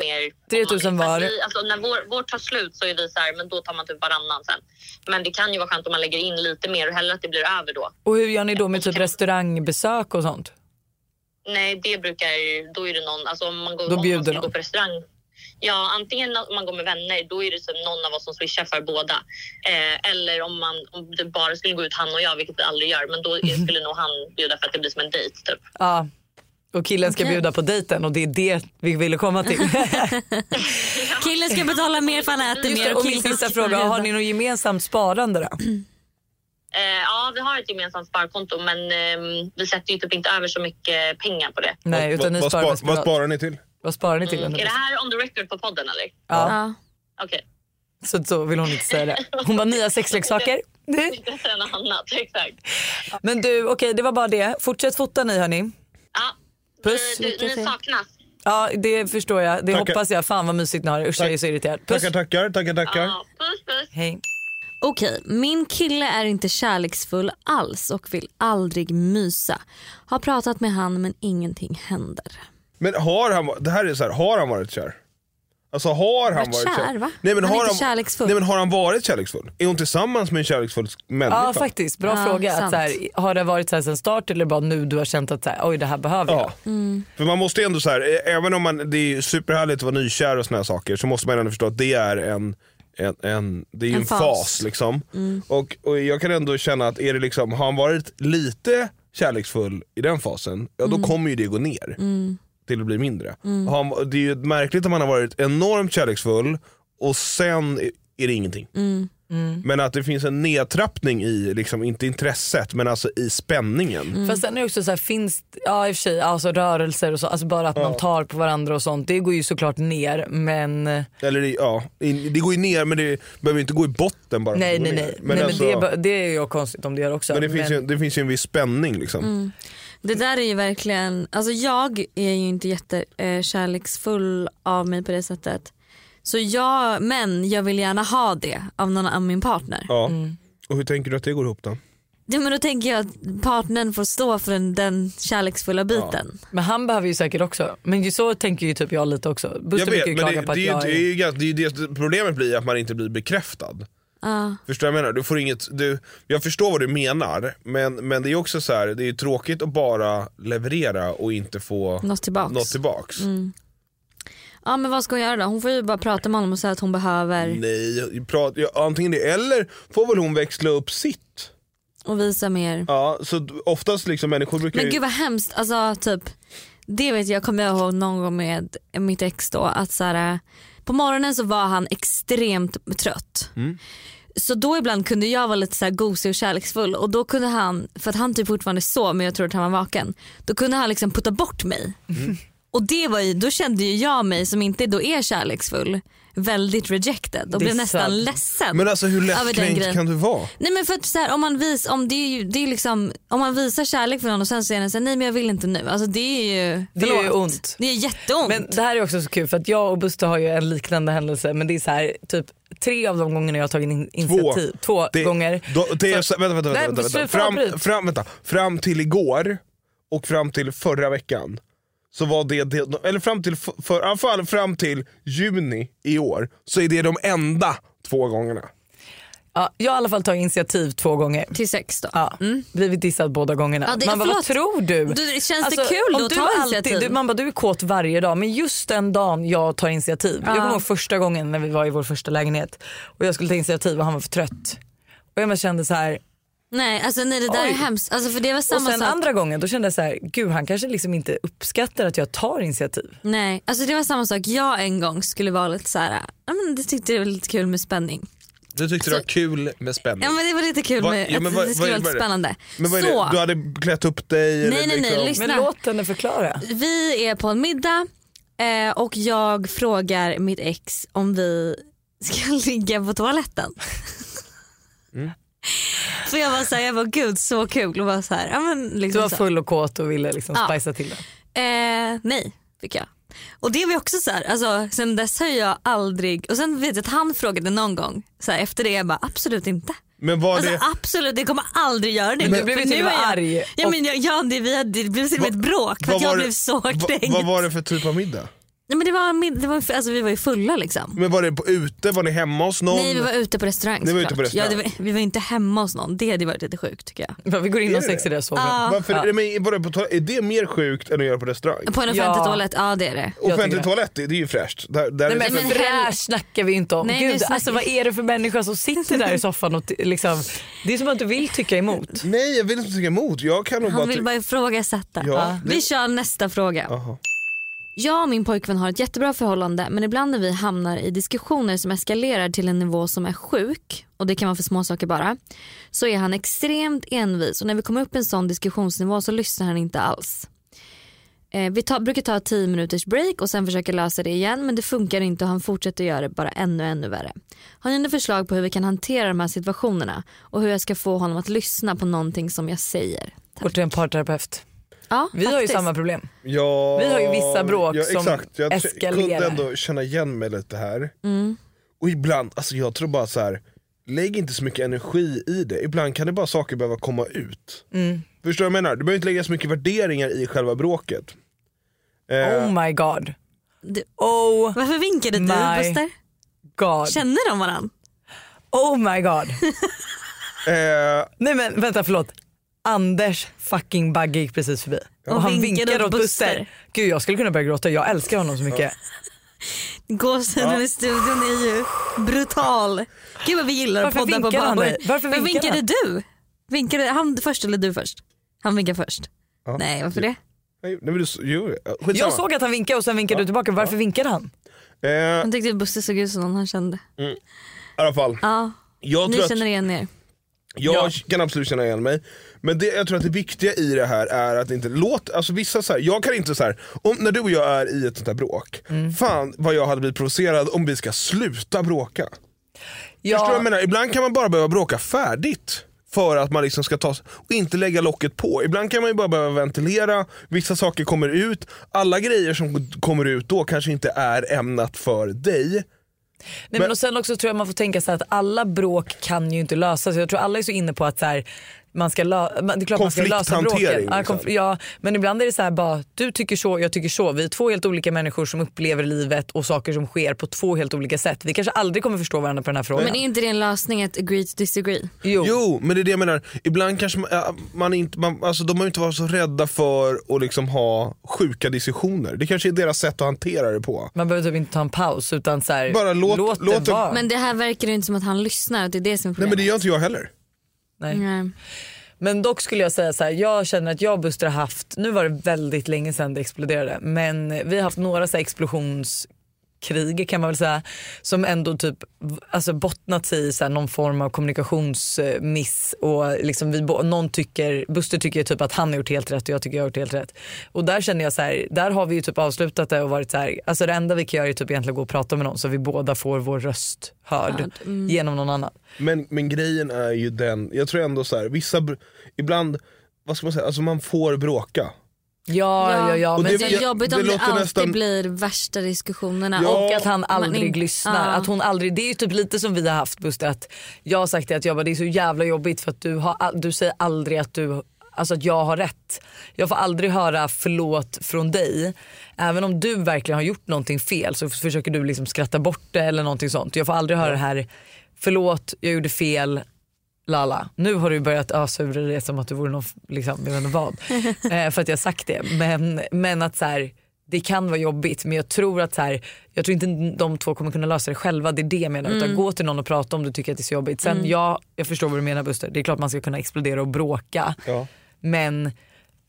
[SPEAKER 4] lite mer.
[SPEAKER 3] 3000 var.
[SPEAKER 4] Fast Vi, alltså, när vår, vårt tar slut så är vi så här, men då tar man typ varannan sen. Men det kan ju vara skönt om man lägger in lite mer och hellre att det blir över då.
[SPEAKER 3] Och hur gör ni då med typ restaurangbesök och sånt?
[SPEAKER 4] Nej, det brukar ju- då är det någon, alltså om man går,
[SPEAKER 3] Då
[SPEAKER 4] om man
[SPEAKER 3] bjuder
[SPEAKER 4] ska
[SPEAKER 3] de.
[SPEAKER 4] gå på restaurang. Ja, antingen om man går med vänner, då är det som någon av oss som swishar för båda. Eh, eller om man om det bara skulle gå ut han och jag, vilket vi aldrig gör, men då är- skulle nog han bjuda för att det blir som en dejt typ.
[SPEAKER 3] Ja. Och killen ska bjuda på dejten och det är det vi ville komma till.
[SPEAKER 1] Killen ska betala mer för han äter
[SPEAKER 3] Just
[SPEAKER 1] mer.
[SPEAKER 3] det, och min sista fråga, har ni något gemensamt sparande då?
[SPEAKER 4] Eh, ja, vi har ett gemensamt sparkonto, men ehm, vi sätter ju typ inte över så mycket pengar på det.
[SPEAKER 3] Nej, utan ni
[SPEAKER 2] vad,
[SPEAKER 3] sparar
[SPEAKER 2] spar,
[SPEAKER 3] mest
[SPEAKER 2] vad
[SPEAKER 3] privat.
[SPEAKER 2] sparar ni till?
[SPEAKER 3] Vad sparar ni till?
[SPEAKER 4] Är
[SPEAKER 3] under
[SPEAKER 4] det här on the record på podden eller?
[SPEAKER 3] Ja,
[SPEAKER 1] Ja.
[SPEAKER 4] Okej.
[SPEAKER 3] så, så vill hon inte säga det. Hon bara nya sexleksaker.
[SPEAKER 4] Inte säga något annat, exakt.
[SPEAKER 3] Men du, okej det var bara det. Fortsätt fota ni hörni.
[SPEAKER 4] Ja.
[SPEAKER 3] Puss.
[SPEAKER 4] Ni, du, ni saknas.
[SPEAKER 3] Ja, det förstår jag. Det
[SPEAKER 2] Tackar.
[SPEAKER 3] hoppas jag. Fan vad mysigt ni har det. Usch, jag är så irriterad. Puss.
[SPEAKER 2] Tackar, tackar, tackar, tackar.
[SPEAKER 4] Ja, puss puss.
[SPEAKER 3] Hej.
[SPEAKER 1] Okej, min kille är inte kärleksfull alls och vill aldrig mysa. Har pratat med han men ingenting händer.
[SPEAKER 2] Men har han, va- det här är så här, har han varit kär? Alltså har han
[SPEAKER 1] Varit
[SPEAKER 2] varit
[SPEAKER 1] kär, va?
[SPEAKER 2] Nej, men
[SPEAKER 1] Han är
[SPEAKER 2] har
[SPEAKER 1] inte kärleksfull.
[SPEAKER 2] Nej men har han varit kärleksfull? Är hon tillsammans med en kärleksfull människa?
[SPEAKER 3] Ja, faktiskt. Bra
[SPEAKER 1] Ja,
[SPEAKER 3] fråga. Att,
[SPEAKER 1] sant.
[SPEAKER 3] så här, har det varit så här sen start eller bara nu du har känt att så här, oj det här behöver jag?
[SPEAKER 2] Ja. För man måste ju ändå så här, ä- även om man, det är superhärligt att vara nykär och såna här saker så måste man ändå förstå att det är en, en, en, det är ju
[SPEAKER 1] En
[SPEAKER 2] en,
[SPEAKER 1] fas.
[SPEAKER 2] fas. liksom. och, och jag kan ändå känna att är det liksom, har han varit lite kärleksfull i den fasen, ja då kommer ju det gå ner. Till att bli mindre. Har han, det är ju märkligt om han har varit enormt kärleksfull och sen är det ingenting. Men att det finns en nedtrappning i, liksom, inte intresset, men alltså i spänningen.
[SPEAKER 3] Fast sen är det också så här, finns, ja i och för sig, alltså rörelser och så, alltså bara att man tar på varandra och sånt, det går ju såklart ner men eh, nej
[SPEAKER 2] Eller i- ja, in- det går ju ner men det behöver inte gå i botten bara. för
[SPEAKER 3] nej
[SPEAKER 2] att det
[SPEAKER 3] nej.
[SPEAKER 2] går
[SPEAKER 3] nej
[SPEAKER 2] ner. Men,
[SPEAKER 3] men
[SPEAKER 2] alltså,
[SPEAKER 3] det,
[SPEAKER 2] men,
[SPEAKER 3] är bara- det är ju konstigt om det gör också.
[SPEAKER 2] det, finns ju, det finns ju en viss spänning liksom.
[SPEAKER 3] Mm.
[SPEAKER 1] Det där är ju verkligen, alltså jag är ju inte jättekärleksfull av mig på det sättet. Så jag, men jag vill gärna ha det av någon av min partner.
[SPEAKER 2] Ja.
[SPEAKER 3] Mm.
[SPEAKER 2] Och hur tänker du att det går ihop då?
[SPEAKER 1] Ja, men då tänker jag att partnern får stå för den, den kärleksfulla biten.
[SPEAKER 3] Men han behöver ju säkert också, men ju så tänker ju typ jag lite också. Buster brukar ju
[SPEAKER 2] men
[SPEAKER 3] klaga
[SPEAKER 2] det,
[SPEAKER 3] på att
[SPEAKER 2] det, är ju-
[SPEAKER 3] jag
[SPEAKER 2] det, är ju gans- det, är ju det problemet blir att man inte blir bekräftad. Förstår du vad jag menar? Du får inget, du, jag förstår vad du menar men, men det är också så här, det är ju tråkigt att bara leverera och inte få
[SPEAKER 1] Något tillbaks.
[SPEAKER 2] något tillbaks.
[SPEAKER 3] Mm.
[SPEAKER 1] Ja men vad ska hon göra då? Hon får ju bara prata med honom och säga att hon behöver
[SPEAKER 2] Nej, prat, ja, antingen det eller får väl hon växla upp sitt.
[SPEAKER 1] och visa mer.
[SPEAKER 2] Ja, så d- oftast liksom människor brukar
[SPEAKER 1] Men
[SPEAKER 2] ju,
[SPEAKER 1] gud vad hemskt, alltså typ det vet jag kommer jag ihåg någon gång med mitt ex då att så här, på morgonen så var han extremt trött.
[SPEAKER 2] Mm.
[SPEAKER 1] Så då ibland kunde jag vara lite så här gosig och kärleksfull och då kunde han, för att han typ fortfarande sov men jag trodde att han var vaken, då kunde han liksom putta bort mig.
[SPEAKER 2] Mm.
[SPEAKER 1] Och det var ju, då kände ju jag mig som inte då är kärleksfull väldigt rejected och blev
[SPEAKER 3] Dissad.
[SPEAKER 1] nästan ledsen.
[SPEAKER 2] Men alltså hur
[SPEAKER 1] över den
[SPEAKER 2] lättkränkt
[SPEAKER 1] grejen.
[SPEAKER 2] kan du vara?
[SPEAKER 1] Nej men för att så här, om, man vis, om, det är ju, det är liksom, om man visar kärlek för någon och sen säger den så här, nej men jag vill inte nu. Alltså det är ju,
[SPEAKER 3] Det gör ju
[SPEAKER 1] förlåt.
[SPEAKER 3] ont.
[SPEAKER 1] Det är jätteont.
[SPEAKER 3] Men det här är också så kul för att jag och Buster har ju en liknande händelse men det är så här typ tre av de gångerna jag har tagit in initiativ. Två,
[SPEAKER 2] det,
[SPEAKER 3] gånger.
[SPEAKER 2] Då, det är, så, vänta, vänta,
[SPEAKER 3] Nej,
[SPEAKER 2] vänta, vänta, vänta.
[SPEAKER 3] sluta,
[SPEAKER 2] Fram,
[SPEAKER 3] avbryt.
[SPEAKER 2] fram, vänta. Fram till igår och fram till förra veckan. Så var det, det eller fram till, f- för, i alla fall fram till juni i år, så är det de enda två gångerna.
[SPEAKER 3] Ja, jag har i alla fall tagit initiativ två gånger.
[SPEAKER 1] Till sex då.
[SPEAKER 3] Ja, Blivit dissad båda gångerna.
[SPEAKER 1] Ja, det-
[SPEAKER 3] man bara, vad
[SPEAKER 1] förlåt.
[SPEAKER 3] tror du?
[SPEAKER 1] Du- känns det kul
[SPEAKER 3] Alltså, om
[SPEAKER 1] då att
[SPEAKER 3] du
[SPEAKER 1] ta
[SPEAKER 3] alltid-
[SPEAKER 1] initiativ?
[SPEAKER 3] Du, man bara, du är kåt varje dag men just den dagen jag tar initiativ. Jag kommer ihåg första gången när vi var i vår första lägenhet och jag skulle ta initiativ och han var för trött. Och jag bara kände så här,
[SPEAKER 1] Nej alltså nej det där
[SPEAKER 3] Oj.
[SPEAKER 1] är hemskt. Alltså, för det var
[SPEAKER 3] och
[SPEAKER 1] samma
[SPEAKER 3] sen
[SPEAKER 1] sak.
[SPEAKER 3] andra gången då kände jag så här, gud han kanske liksom inte uppskattar att jag tar initiativ.
[SPEAKER 1] Nej, alltså det var samma sak. Jag en gång skulle vara lite så här, ja, men det tyckte det var lite kul med spänning.
[SPEAKER 2] Du tyckte det var kul med spänning.
[SPEAKER 1] Ja men det var lite kul
[SPEAKER 2] Vad-
[SPEAKER 1] med
[SPEAKER 2] ja, men
[SPEAKER 1] att
[SPEAKER 2] vad-
[SPEAKER 1] det
[SPEAKER 2] vad
[SPEAKER 1] skulle
[SPEAKER 2] är-
[SPEAKER 1] vara lite
[SPEAKER 2] vad är det?
[SPEAKER 1] spännande.
[SPEAKER 2] Men vad är
[SPEAKER 1] Så
[SPEAKER 2] det? Du hade klätt upp dig?
[SPEAKER 1] Nej,
[SPEAKER 2] eller
[SPEAKER 1] nej, nej,
[SPEAKER 2] liksom,
[SPEAKER 1] lyssna.
[SPEAKER 3] Men
[SPEAKER 1] Nej.
[SPEAKER 3] låt henne förklara.
[SPEAKER 1] vi är på en middag eh, och jag frågar mitt ex om vi ska ligga på toaletten.
[SPEAKER 3] Mm.
[SPEAKER 1] För jag var såhär, jag var gud så kul och var såhär, ja men
[SPEAKER 3] Du
[SPEAKER 1] liksom
[SPEAKER 3] var
[SPEAKER 1] så.
[SPEAKER 3] full och kåt och ville liksom
[SPEAKER 1] Ja.
[SPEAKER 3] spicea till det.
[SPEAKER 1] Eh, nej, fick jag. Och det var ju också så här, alltså, sen dess har jag aldrig, och sen vet jag att han frågade någon gång så här, efter det, jag bara absolut inte.
[SPEAKER 2] Men var
[SPEAKER 1] Alltså
[SPEAKER 2] det,
[SPEAKER 1] absolut, det kommer aldrig göra det.
[SPEAKER 3] Men du blev ju
[SPEAKER 1] För
[SPEAKER 3] till och med
[SPEAKER 1] är jag-
[SPEAKER 3] arg.
[SPEAKER 1] Ja,
[SPEAKER 3] Och-
[SPEAKER 1] men jag, ja, det, vi hade, det blev till och med ett bråk för
[SPEAKER 2] vad
[SPEAKER 1] att jag
[SPEAKER 2] var det-
[SPEAKER 1] blev så
[SPEAKER 2] va-
[SPEAKER 1] kränkt.
[SPEAKER 2] vad var det för typ av middag?
[SPEAKER 1] Nej, men det var, min- det var, alltså, vi var ju fulla liksom.
[SPEAKER 2] Men var det på ute, var ni hemma hos någon?
[SPEAKER 1] Nej vi var ute på restaurang
[SPEAKER 2] Ni var ute
[SPEAKER 1] såklart.
[SPEAKER 2] på restaurang.
[SPEAKER 1] Ja, det var, Vi var inte hemma hos någon, det hade varit lite sjukt tycker jag.
[SPEAKER 3] Men Vi går in
[SPEAKER 2] Är
[SPEAKER 3] om
[SPEAKER 2] det
[SPEAKER 3] sex
[SPEAKER 2] det?
[SPEAKER 3] i deras sovrum.
[SPEAKER 2] Varför, men, var det på toal- är det mer sjukt än att göra på restaurang?
[SPEAKER 1] På en offentlig
[SPEAKER 3] Ja.
[SPEAKER 1] toalett, ja det är det.
[SPEAKER 2] Offentlig
[SPEAKER 3] tycker det.
[SPEAKER 2] toalett, det det är ju fräscht. Där, där är
[SPEAKER 3] Nej,
[SPEAKER 2] det- liksom-
[SPEAKER 3] men
[SPEAKER 1] men
[SPEAKER 3] fräsch
[SPEAKER 1] hell-
[SPEAKER 3] snackar vi inte om.
[SPEAKER 1] Nej, nu
[SPEAKER 3] Gud,
[SPEAKER 1] snackar
[SPEAKER 3] alltså, vad är det för människa som sitter där i soffan och t- liksom, det är som att du vill tycka emot.
[SPEAKER 2] Nej jag vill inte tycka emot. Jag kan nog bara...
[SPEAKER 1] Han vill
[SPEAKER 2] ty-
[SPEAKER 1] bara ifrågasätta.
[SPEAKER 2] Ja,
[SPEAKER 1] Vi kör nästa fråga.
[SPEAKER 2] Jaha.
[SPEAKER 1] Jag och min pojkvän har ett jättebra förhållande men ibland när vi hamnar i diskussioner som eskalerar till en nivå som är sjuk och det kan vara för små saker bara så är han extremt envis och när vi kommer upp i en sån diskussionsnivå så lyssnar han inte alls. Eh, vi ta, brukar ta 10 minuters break och sen försöka lösa det igen men det funkar inte och han fortsätter göra det bara ännu ännu värre. Har ni några förslag på hur vi kan hantera de här situationerna och hur jag ska få honom att lyssna på någonting som jag säger?
[SPEAKER 3] Går till en parterapeut.
[SPEAKER 1] Ja,
[SPEAKER 3] Vi har ju
[SPEAKER 1] faktiskt.
[SPEAKER 3] samma problem.
[SPEAKER 2] Ja,
[SPEAKER 3] Vi har ju vissa bråk
[SPEAKER 2] ja,
[SPEAKER 3] som
[SPEAKER 2] exakt. Jag t-
[SPEAKER 3] eskalerar.
[SPEAKER 2] kunde ändå känna igen mig lite här.
[SPEAKER 1] Mm.
[SPEAKER 2] Och ibland, alltså jag tror bara så här. lägg inte så mycket energi i det. Ibland kan det bara saker behöva komma ut.
[SPEAKER 3] Mm.
[SPEAKER 2] Förstår du vad jag menar? Du behöver inte lägga så mycket värderingar i själva bråket. Eh,
[SPEAKER 3] Oh my god.
[SPEAKER 1] Du-
[SPEAKER 3] Oh
[SPEAKER 1] Varför vinkade du
[SPEAKER 3] Nej.
[SPEAKER 1] Buster?
[SPEAKER 3] god.
[SPEAKER 1] Känner de varandra?
[SPEAKER 3] Oh my god.
[SPEAKER 2] eh,
[SPEAKER 3] Nej men vänta förlåt. Anders fucking Bagge gick precis förbi. Och han
[SPEAKER 1] vinkade
[SPEAKER 3] vinkade
[SPEAKER 1] åt
[SPEAKER 3] åt Buster.
[SPEAKER 1] Buster.
[SPEAKER 3] Gud jag skulle kunna börja gråta, jag älskar honom så mycket.
[SPEAKER 1] Gåshuden i studion är ju brutal. Gud vad vi gillar att
[SPEAKER 3] Varför
[SPEAKER 1] podda på
[SPEAKER 3] vinkade han
[SPEAKER 1] Babor.
[SPEAKER 3] dig? Varför
[SPEAKER 1] Men
[SPEAKER 3] vinkade
[SPEAKER 1] vinkade du? Vinkade han först eller du först? Han vinkar först. Nej varför det?
[SPEAKER 2] nej men du, jo, skitsamma.
[SPEAKER 3] Jag såg att han vinkade och sen vinkade du tillbaka, varför vinkade han?
[SPEAKER 2] Eh,
[SPEAKER 1] Han tyckte Buster såg ut som någon han kände.
[SPEAKER 2] I alla fall.
[SPEAKER 1] Ja,
[SPEAKER 2] Jag
[SPEAKER 1] ni
[SPEAKER 2] tror att
[SPEAKER 1] känner igen er.
[SPEAKER 2] Jag kan absolut känna igen mig. Men det, jag tror att det viktiga i det här är att inte låt, alltså vissa så här, jag kan inte så här, om, när du och jag är i ett sånt här bråk, fan vad jag hade blivit provocerad om vi ska sluta bråka.
[SPEAKER 3] Ja.
[SPEAKER 2] Förstår du vad jag menar? Ibland kan man bara behöva bråka färdigt för att man liksom ska ta och inte lägga locket på. Ibland kan man ju bara behöva ventilera, vissa saker kommer ut, alla grejer som kommer ut då kanske inte är ämnat för dig.
[SPEAKER 3] Nej, men och sen också tror jag man får tänka så här att alla bråk kan ju inte lösas. Jag tror alla är så inne på att så här, man ska, la, man, det är klart man ska lösa bråken.
[SPEAKER 2] Konflikthantering,
[SPEAKER 3] Ja,
[SPEAKER 2] liksom.
[SPEAKER 3] konf- ja, men ibland är det så här bara, du tycker så, jag tycker så. Vi är två helt olika människor som upplever livet och saker som sker på två helt olika sätt. Vi kanske aldrig kommer förstå varandra på den här frågan.
[SPEAKER 1] Men är inte det en lösning att agree to disagree?
[SPEAKER 2] Jo, men det är det jag menar. Ibland kanske man, ja, man inte, man, alltså de behöver inte vara så rädda för att liksom ha sjuka diskussioner. Det kanske är deras sätt att hantera det på.
[SPEAKER 3] Man behöver typ inte ta en paus utan så här,
[SPEAKER 2] Bara låt-
[SPEAKER 3] låt,
[SPEAKER 2] låt
[SPEAKER 3] det
[SPEAKER 2] det-
[SPEAKER 3] vara.
[SPEAKER 1] Men det här verkar ju inte som att han lyssnar och det är det som är
[SPEAKER 2] Nej men
[SPEAKER 1] problemet.
[SPEAKER 2] det gör inte jag heller.
[SPEAKER 3] Nej.
[SPEAKER 1] Nej.
[SPEAKER 3] Men dock skulle jag säga så här, jag känner att jag och Buster har haft, nu var det väldigt länge sedan det exploderade, men vi har haft några så här explosionskrig kan man väl säga som ändå typ alltså bottnat i så här någon form av kommunikationsmiss och liksom vi, bo- någon tycker, Buster tycker typ att han har gjort helt rätt och jag tycker jag har gjort helt rätt. Och där känner jag så här, där har vi ju typ avslutat det och varit så här, alltså det enda vi kan göra är typ egentligen gå och prata med någon så vi båda får vår röst hörd mm. genom någon annan.
[SPEAKER 2] Men, men grejen är ju den, jag tror ändå så här, vissa, br- ibland, vad ska man säga, alltså man får bråka.
[SPEAKER 3] Ja, ja, ja.
[SPEAKER 2] Och
[SPEAKER 1] men
[SPEAKER 3] men
[SPEAKER 2] det-
[SPEAKER 1] det är
[SPEAKER 2] jag-
[SPEAKER 1] jobbigt
[SPEAKER 2] det
[SPEAKER 1] om det,
[SPEAKER 2] låter
[SPEAKER 1] alltid
[SPEAKER 2] nästan-
[SPEAKER 1] blir värsta diskussionerna.
[SPEAKER 2] Ja.
[SPEAKER 3] Och att han
[SPEAKER 1] man
[SPEAKER 3] aldrig
[SPEAKER 1] in-
[SPEAKER 3] lyssnar.
[SPEAKER 1] Ja.
[SPEAKER 3] Att hon aldrig, det är ju typ lite som vi har haft Buster. Att jag har sagt det att jag bara, det är så jävla jobbigt för att du, har, all- du säger aldrig att du Alltså att jag har rätt. Jag får aldrig höra förlåt från dig. Även om du verkligen har gjort någonting fel så försöker du liksom skratta bort det eller någonting sånt. Jag får aldrig höra det här, förlåt jag gjorde fel, lala. Nu har du börjat ösa ur dig det som att du vore någon, f- liksom, jag vet inte vad. eh, för att jag har sagt det. Men, men att så här, det kan vara jobbigt men jag tror att så här, jag tror inte de två kommer kunna lösa det själva. Det är det jag menar. Utan
[SPEAKER 1] Mm.
[SPEAKER 3] gå till någon och prata om du tycker att det är så jobbigt. Sen ja, jag förstår vad du menar Buster. Det är klart man ska kunna explodera och bråka.
[SPEAKER 2] Ja.
[SPEAKER 3] Men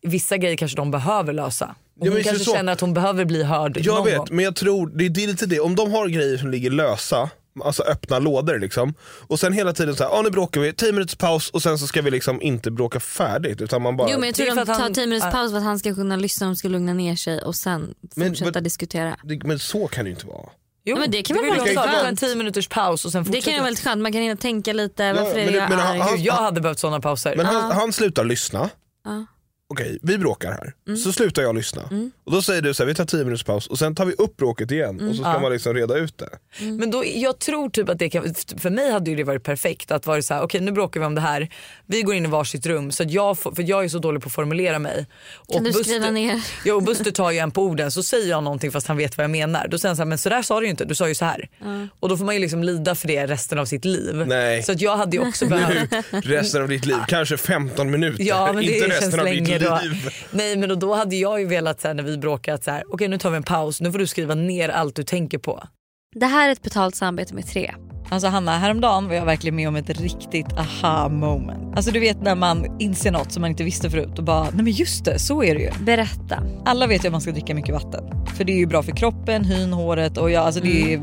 [SPEAKER 3] vissa grejer kanske de behöver lösa. Och
[SPEAKER 2] Ja,
[SPEAKER 3] hon
[SPEAKER 2] men
[SPEAKER 3] kanske
[SPEAKER 2] så-
[SPEAKER 3] känner att hon behöver bli hörd
[SPEAKER 2] Jag
[SPEAKER 3] någon
[SPEAKER 2] vet,
[SPEAKER 3] gång.
[SPEAKER 2] men jag tror, det, det är lite det, om de har grejer som ligger lösa, alltså öppna lådor liksom. Och sen hela tiden så här, ah, nu bråkar vi, 10 minuters paus och sen så ska vi liksom inte bråka färdigt utan man bara
[SPEAKER 1] Jo men jag
[SPEAKER 3] Det är
[SPEAKER 1] tror
[SPEAKER 3] för
[SPEAKER 1] de
[SPEAKER 3] att han-
[SPEAKER 1] tar 10 minuters
[SPEAKER 3] ja.
[SPEAKER 1] paus för att han ska kunna lyssna och ska lugna ner sig och sen
[SPEAKER 2] Men-
[SPEAKER 1] fortsätta
[SPEAKER 2] men-
[SPEAKER 1] diskutera.
[SPEAKER 2] det, men så kan det ju inte vara.
[SPEAKER 3] Jo,
[SPEAKER 1] Ja, men det kan
[SPEAKER 3] det
[SPEAKER 1] väl vara
[SPEAKER 3] ju
[SPEAKER 1] skönt.
[SPEAKER 3] ta en 10 minuters paus och sen
[SPEAKER 1] Det kan
[SPEAKER 3] fortsätta.
[SPEAKER 1] ju vara väldigt skönt, man kan hinna tänka lite. Varför
[SPEAKER 2] men
[SPEAKER 1] är
[SPEAKER 2] det-
[SPEAKER 1] jag
[SPEAKER 2] men han-
[SPEAKER 1] arg?
[SPEAKER 2] han-
[SPEAKER 3] Gud, jag hade behövt sådana pauser.
[SPEAKER 2] Men han, han slutar lyssna.
[SPEAKER 1] Ja.
[SPEAKER 2] Okej, vi bråkar här.
[SPEAKER 3] Mm.
[SPEAKER 2] Så slutar jag lyssna. Och Då säger du så här, vi tar 10 minuters paus och sen tar vi upp bråket igen och så ska
[SPEAKER 3] Mm.
[SPEAKER 2] man liksom reda ut det.
[SPEAKER 3] Men då, jag tror typ att det kan, för mig hade ju det varit perfekt att vara så här, okej nu bråkar vi om det här, vi går in i varsitt rum så att jag får, för jag är så dålig på att formulera mig. Och
[SPEAKER 1] Kan du skriva ner?
[SPEAKER 3] Ja, och Buster tar ju en på orden så säger jag någonting fast han vet vad jag menar. Då säger han så här, men så där sa du ju inte, du sa ju så här. Och då får man ju liksom lida för det resten av sitt liv.
[SPEAKER 2] Nej.
[SPEAKER 3] Så att jag hade ju också behövt
[SPEAKER 2] Resten av ditt liv, kanske 15 minuter.
[SPEAKER 3] Ja, men
[SPEAKER 2] inte
[SPEAKER 3] det
[SPEAKER 2] resten
[SPEAKER 3] känns
[SPEAKER 2] av
[SPEAKER 3] länge
[SPEAKER 2] ditt
[SPEAKER 3] då.
[SPEAKER 2] liv.
[SPEAKER 3] Nej men och då hade jag ju velat så här, när vi bråkat så här, okej nu tar vi en paus, nu får du skriva ner allt du tänker på.
[SPEAKER 1] Det här är ett betalt samarbete med tre.
[SPEAKER 3] Alltså Hanna, häromdagen var jag verkligen med om ett riktigt aha moment. Alltså du vet när man inser något som man inte visste förut och bara, nej men just det, så är det ju.
[SPEAKER 1] Berätta.
[SPEAKER 3] Alla vet ju att man ska dricka mycket vatten. För det är ju bra för kroppen, hyn, håret och ja, alltså det, är,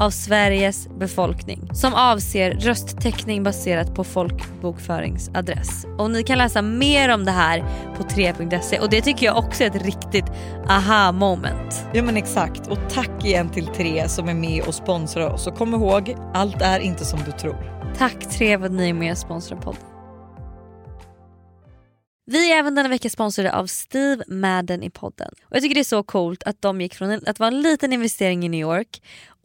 [SPEAKER 1] av Sveriges befolkning som avser rösttäckning baserat på folkbokföringsadress. Och ni kan läsa mer om det här på 3.se och det tycker jag också är ett riktigt aha moment.
[SPEAKER 3] Ja men exakt och tack igen till tre som är med och sponsrar oss och kom ihåg allt är inte som du tror.
[SPEAKER 1] Tack Tre för att ni är med och sponsrar podden. Vi är även denna vecka sponsrade av Steve Madden i podden. Och jag tycker det är så coolt att de gick från en, att vara en liten investering i New York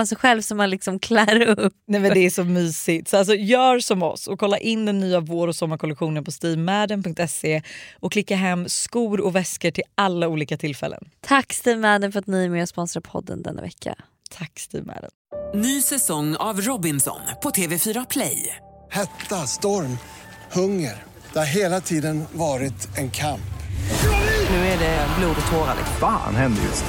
[SPEAKER 1] av sig själv som man liksom klär upp.
[SPEAKER 5] Nej men det är så mysigt. Så alltså, gör som oss och kolla in den nya vår och sommarkollektionen på steamadden.se och klicka hem skor och väskor till alla olika tillfällen.
[SPEAKER 1] Tack Steve Madden för att ni är med och sponsrar podden denna vecka.
[SPEAKER 5] Tack Steve Madden.
[SPEAKER 6] Ny säsong av Robinson på TV4 Play.
[SPEAKER 7] Hetta, storm, hunger. Det har hela tiden varit en kamp.
[SPEAKER 6] Nu är det blod och tårar. liksom.
[SPEAKER 8] Fan händer just nu.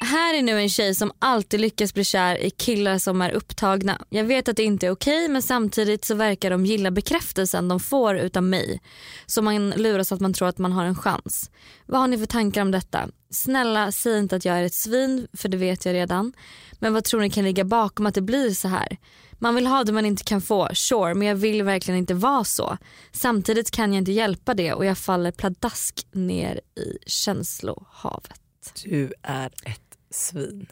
[SPEAKER 1] Här är nu en tjej som alltid lyckas bli kär i killar som är upptagna. Jag vet att det inte är okej men samtidigt så verkar de gilla bekräftelsen de får utav mig. Så man luras att man tror att man har en chans. Vad har ni för tankar om detta? Snälla säg inte att jag är ett svin för det vet jag redan. Men vad tror ni kan ligga bakom att det blir så här? Man vill ha det man inte kan få, sure, men jag vill verkligen inte vara så. Samtidigt kan jag inte hjälpa det och jag faller pladask ner i känslohavet.
[SPEAKER 3] Du är ett svin.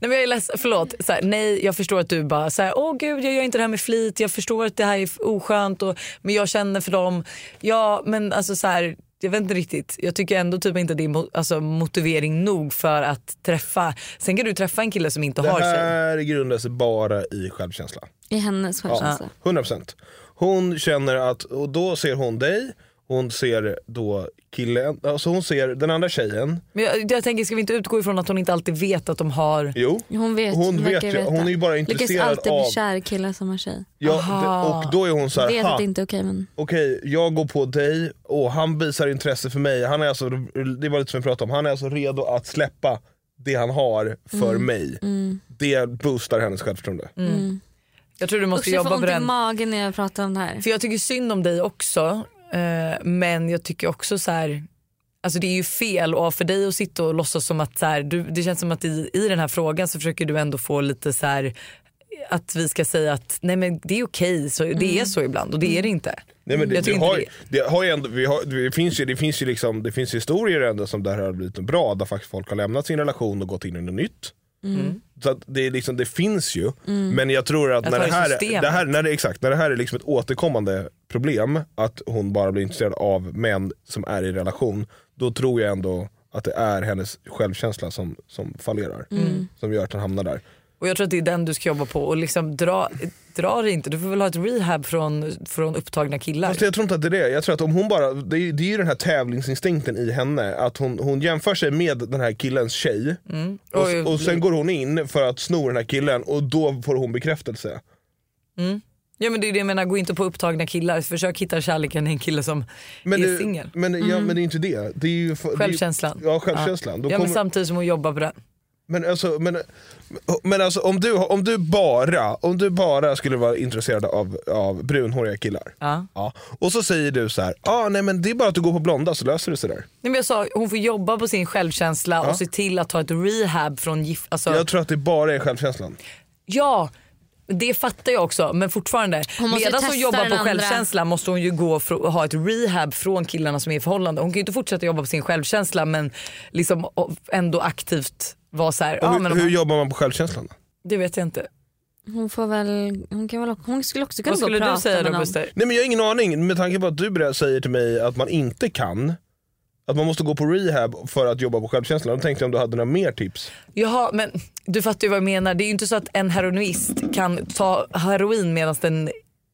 [SPEAKER 3] Nej men jag är ledsen, förlåt. Så här, nej jag förstår att du bara så här, åh gud jag gör inte det här med flit, jag förstår att det här är f- oskönt och, men jag känner för dem. Ja men alltså så här, jag vet inte riktigt. Jag tycker ändå typ inte det är mo- alltså, motivering nog för att träffa. Sen kan du träffa en kille som inte
[SPEAKER 2] Det
[SPEAKER 3] har tjej.
[SPEAKER 2] här grundar sig bara i självkänsla.
[SPEAKER 1] I hennes självkänsla.
[SPEAKER 2] Ja, 100%. Hon känner att, och då ser hon dig, hon ser då killen, alltså hon ser den andra tjejen.
[SPEAKER 3] Men jag, jag tänker ska vi inte utgå ifrån att hon inte alltid vet att de har.
[SPEAKER 2] Jo,
[SPEAKER 1] Hon vet,
[SPEAKER 2] Hon
[SPEAKER 1] verkar
[SPEAKER 2] vet ju-
[SPEAKER 1] veta.
[SPEAKER 2] hon är ju bara
[SPEAKER 1] Lyckas
[SPEAKER 2] intresserad
[SPEAKER 1] alltid
[SPEAKER 2] av-
[SPEAKER 1] bli kär i killar som har tjej.
[SPEAKER 2] ja,
[SPEAKER 3] Aha.
[SPEAKER 2] d- och då är hon så här,
[SPEAKER 1] vet
[SPEAKER 2] "Ha,
[SPEAKER 1] att det inte är okej men.
[SPEAKER 2] okej jag går på dig och han visar intresse för mig. Han är alltså, det var lite som vi pratade om, han är alltså redo att släppa det han har för mig. Det boostar hennes självförtroende.
[SPEAKER 3] Alltså, Jag tror du måste
[SPEAKER 1] Usch jag får
[SPEAKER 3] jobba
[SPEAKER 1] ont
[SPEAKER 3] på
[SPEAKER 1] i
[SPEAKER 3] den.
[SPEAKER 1] magen när jag pratar om det här.
[SPEAKER 3] För jag tycker synd om dig också. Eh, men jag tycker också så här. Alltså det är ju fel och för dig att sitta och låtsas som att så här, du, det känns som att i, i den här frågan så försöker du ändå få lite så här att vi ska säga att nej men det är okej, så,
[SPEAKER 1] Mm.
[SPEAKER 3] det är så ibland och det är det inte.
[SPEAKER 2] Nej, men det,
[SPEAKER 3] jag
[SPEAKER 2] det,
[SPEAKER 3] tycker inte
[SPEAKER 2] har,
[SPEAKER 3] det.
[SPEAKER 2] ju- det har ju ändå, vi har, det finns ju, det finns ju liksom, det finns historier ändå som där har blivit bra där faktiskt folk har lämnat sin relation och gått in i något nytt.
[SPEAKER 3] Mm.
[SPEAKER 2] Så att det, är liksom, det finns ju, men jag tror att
[SPEAKER 3] Jag
[SPEAKER 2] när
[SPEAKER 3] tar
[SPEAKER 2] det,
[SPEAKER 3] i
[SPEAKER 2] här,
[SPEAKER 3] Mm. systemet.
[SPEAKER 2] det här, när det, exakt, när det här är liksom ett återkommande problem, att hon bara blir intresserad av män som är i relation, då tror jag ändå att det är hennes självkänsla som, som fallerar.
[SPEAKER 3] Mm.
[SPEAKER 2] Som gör att hon hamnar där.
[SPEAKER 3] Och jag tror att det är den du ska jobba på och liksom dra, dra dig inte. Du får väl ha ett rehab från, från upptagna killar.
[SPEAKER 2] Fast jag tror inte att det är det. Jag tror att om hon bara, det är, ju- det är ju den här tävlingsinstinkten i henne. Att hon, hon jämför sig med den här killens tjej.
[SPEAKER 3] Mm.
[SPEAKER 2] Och, och sen går hon in för att sno den här killen och då får hon bekräftelse.
[SPEAKER 3] Ja men det är det jag menar, gå inte på upptagna killar. Försök hitta kärleken i en kille som
[SPEAKER 2] Men,
[SPEAKER 3] är
[SPEAKER 2] det-
[SPEAKER 3] singel. Mm.
[SPEAKER 2] men, ja, men det är inte det. det är ju, för- det är ju-
[SPEAKER 3] Självkänslan.
[SPEAKER 2] Ja, självkänslan. Då
[SPEAKER 3] Ja, men
[SPEAKER 2] kommer,
[SPEAKER 3] samtidigt som hon jobbar på den.
[SPEAKER 2] men, alltså, men, men alltså om du, om du, bara, om du bara skulle vara intresserad av, av brunhåriga killar.
[SPEAKER 3] Ja.
[SPEAKER 2] Ja. Och så säger du så här, ah, nej men det är bara att du går på blonda så löser det sig där.
[SPEAKER 3] Nej, men jag sa, hon får jobba på sin självkänsla
[SPEAKER 2] Ja.
[SPEAKER 3] och se till att ta ett rehab från gift. Alltså,
[SPEAKER 2] Jag tror att det bara är självkänslan.
[SPEAKER 3] Ja, det fattar jag också men fortfarande.
[SPEAKER 1] Hon måste
[SPEAKER 3] Medan hon
[SPEAKER 1] testa
[SPEAKER 3] jobbar
[SPEAKER 1] den
[SPEAKER 3] på
[SPEAKER 1] andra.
[SPEAKER 3] självkänsla måste hon ju gå och ha ett rehab från killarna som är i förhållande. Hon kan ju inte fortsätta jobba på sin självkänsla men liksom o- ändå aktivt vara så här,
[SPEAKER 2] Och
[SPEAKER 3] ja,
[SPEAKER 2] hur,
[SPEAKER 3] men
[SPEAKER 2] hur
[SPEAKER 3] om-
[SPEAKER 2] jobbar man på självkänslan? då?
[SPEAKER 3] det vet jag inte.
[SPEAKER 1] Hon, får väl, hon, kan väl, hon skulle också kunna
[SPEAKER 3] Vad
[SPEAKER 1] gå och
[SPEAKER 3] skulle
[SPEAKER 1] prata
[SPEAKER 3] du säga
[SPEAKER 1] med
[SPEAKER 3] då
[SPEAKER 1] någon.
[SPEAKER 3] Buster?
[SPEAKER 2] Nej men jag har ingen aning med tanke på att du ber- säger till mig att man inte kan att man måste gå på rehab för att jobba på självkänslan. Då tänkte jag om du hade några mer tips.
[SPEAKER 3] Jaha, men du fattar ju vad jag menar. Det är ju inte så att en heroinist kan ta heroin medan den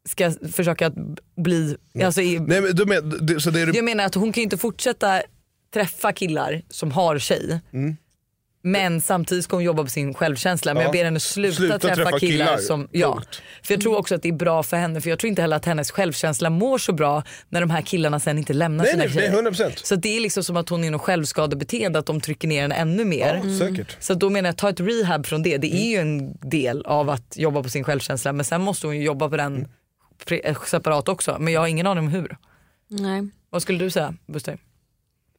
[SPEAKER 3] ska försöka att bli... Alltså, i,
[SPEAKER 2] Nej, men du men, du, så det du,
[SPEAKER 3] Jag menar att hon kan ju inte fortsätta träffa killar som har tjej.
[SPEAKER 2] Mm.
[SPEAKER 3] Men samtidigt ska hon jobba på sin självkänsla. Men
[SPEAKER 2] Ja.
[SPEAKER 3] jag ber henne sluta,
[SPEAKER 2] Sluta
[SPEAKER 3] träffa,
[SPEAKER 2] träffa
[SPEAKER 3] killar.
[SPEAKER 2] killar.
[SPEAKER 3] som, ja.
[SPEAKER 2] Punkt.
[SPEAKER 3] För jag tror också att det är bra för henne. För jag tror inte heller att hennes självkänsla mår så bra när de här killarna sen inte lämnar
[SPEAKER 2] nej,
[SPEAKER 3] sina
[SPEAKER 2] nej, nej, 100%.
[SPEAKER 3] tjejer. Så det är liksom som att hon är någon självskadebeteende att de trycker ner henne ännu mer.
[SPEAKER 2] Ja, säkert.
[SPEAKER 3] Så då menar jag ta ett rehab från det. Det
[SPEAKER 2] Mm.
[SPEAKER 3] är ju en del av att jobba på sin självkänsla. Men sen måste hon ju jobba på den
[SPEAKER 2] Mm.
[SPEAKER 3] pre- eh, separat också. Men jag har ingen aning om hur.
[SPEAKER 1] Nej.
[SPEAKER 3] Vad skulle du säga Buster?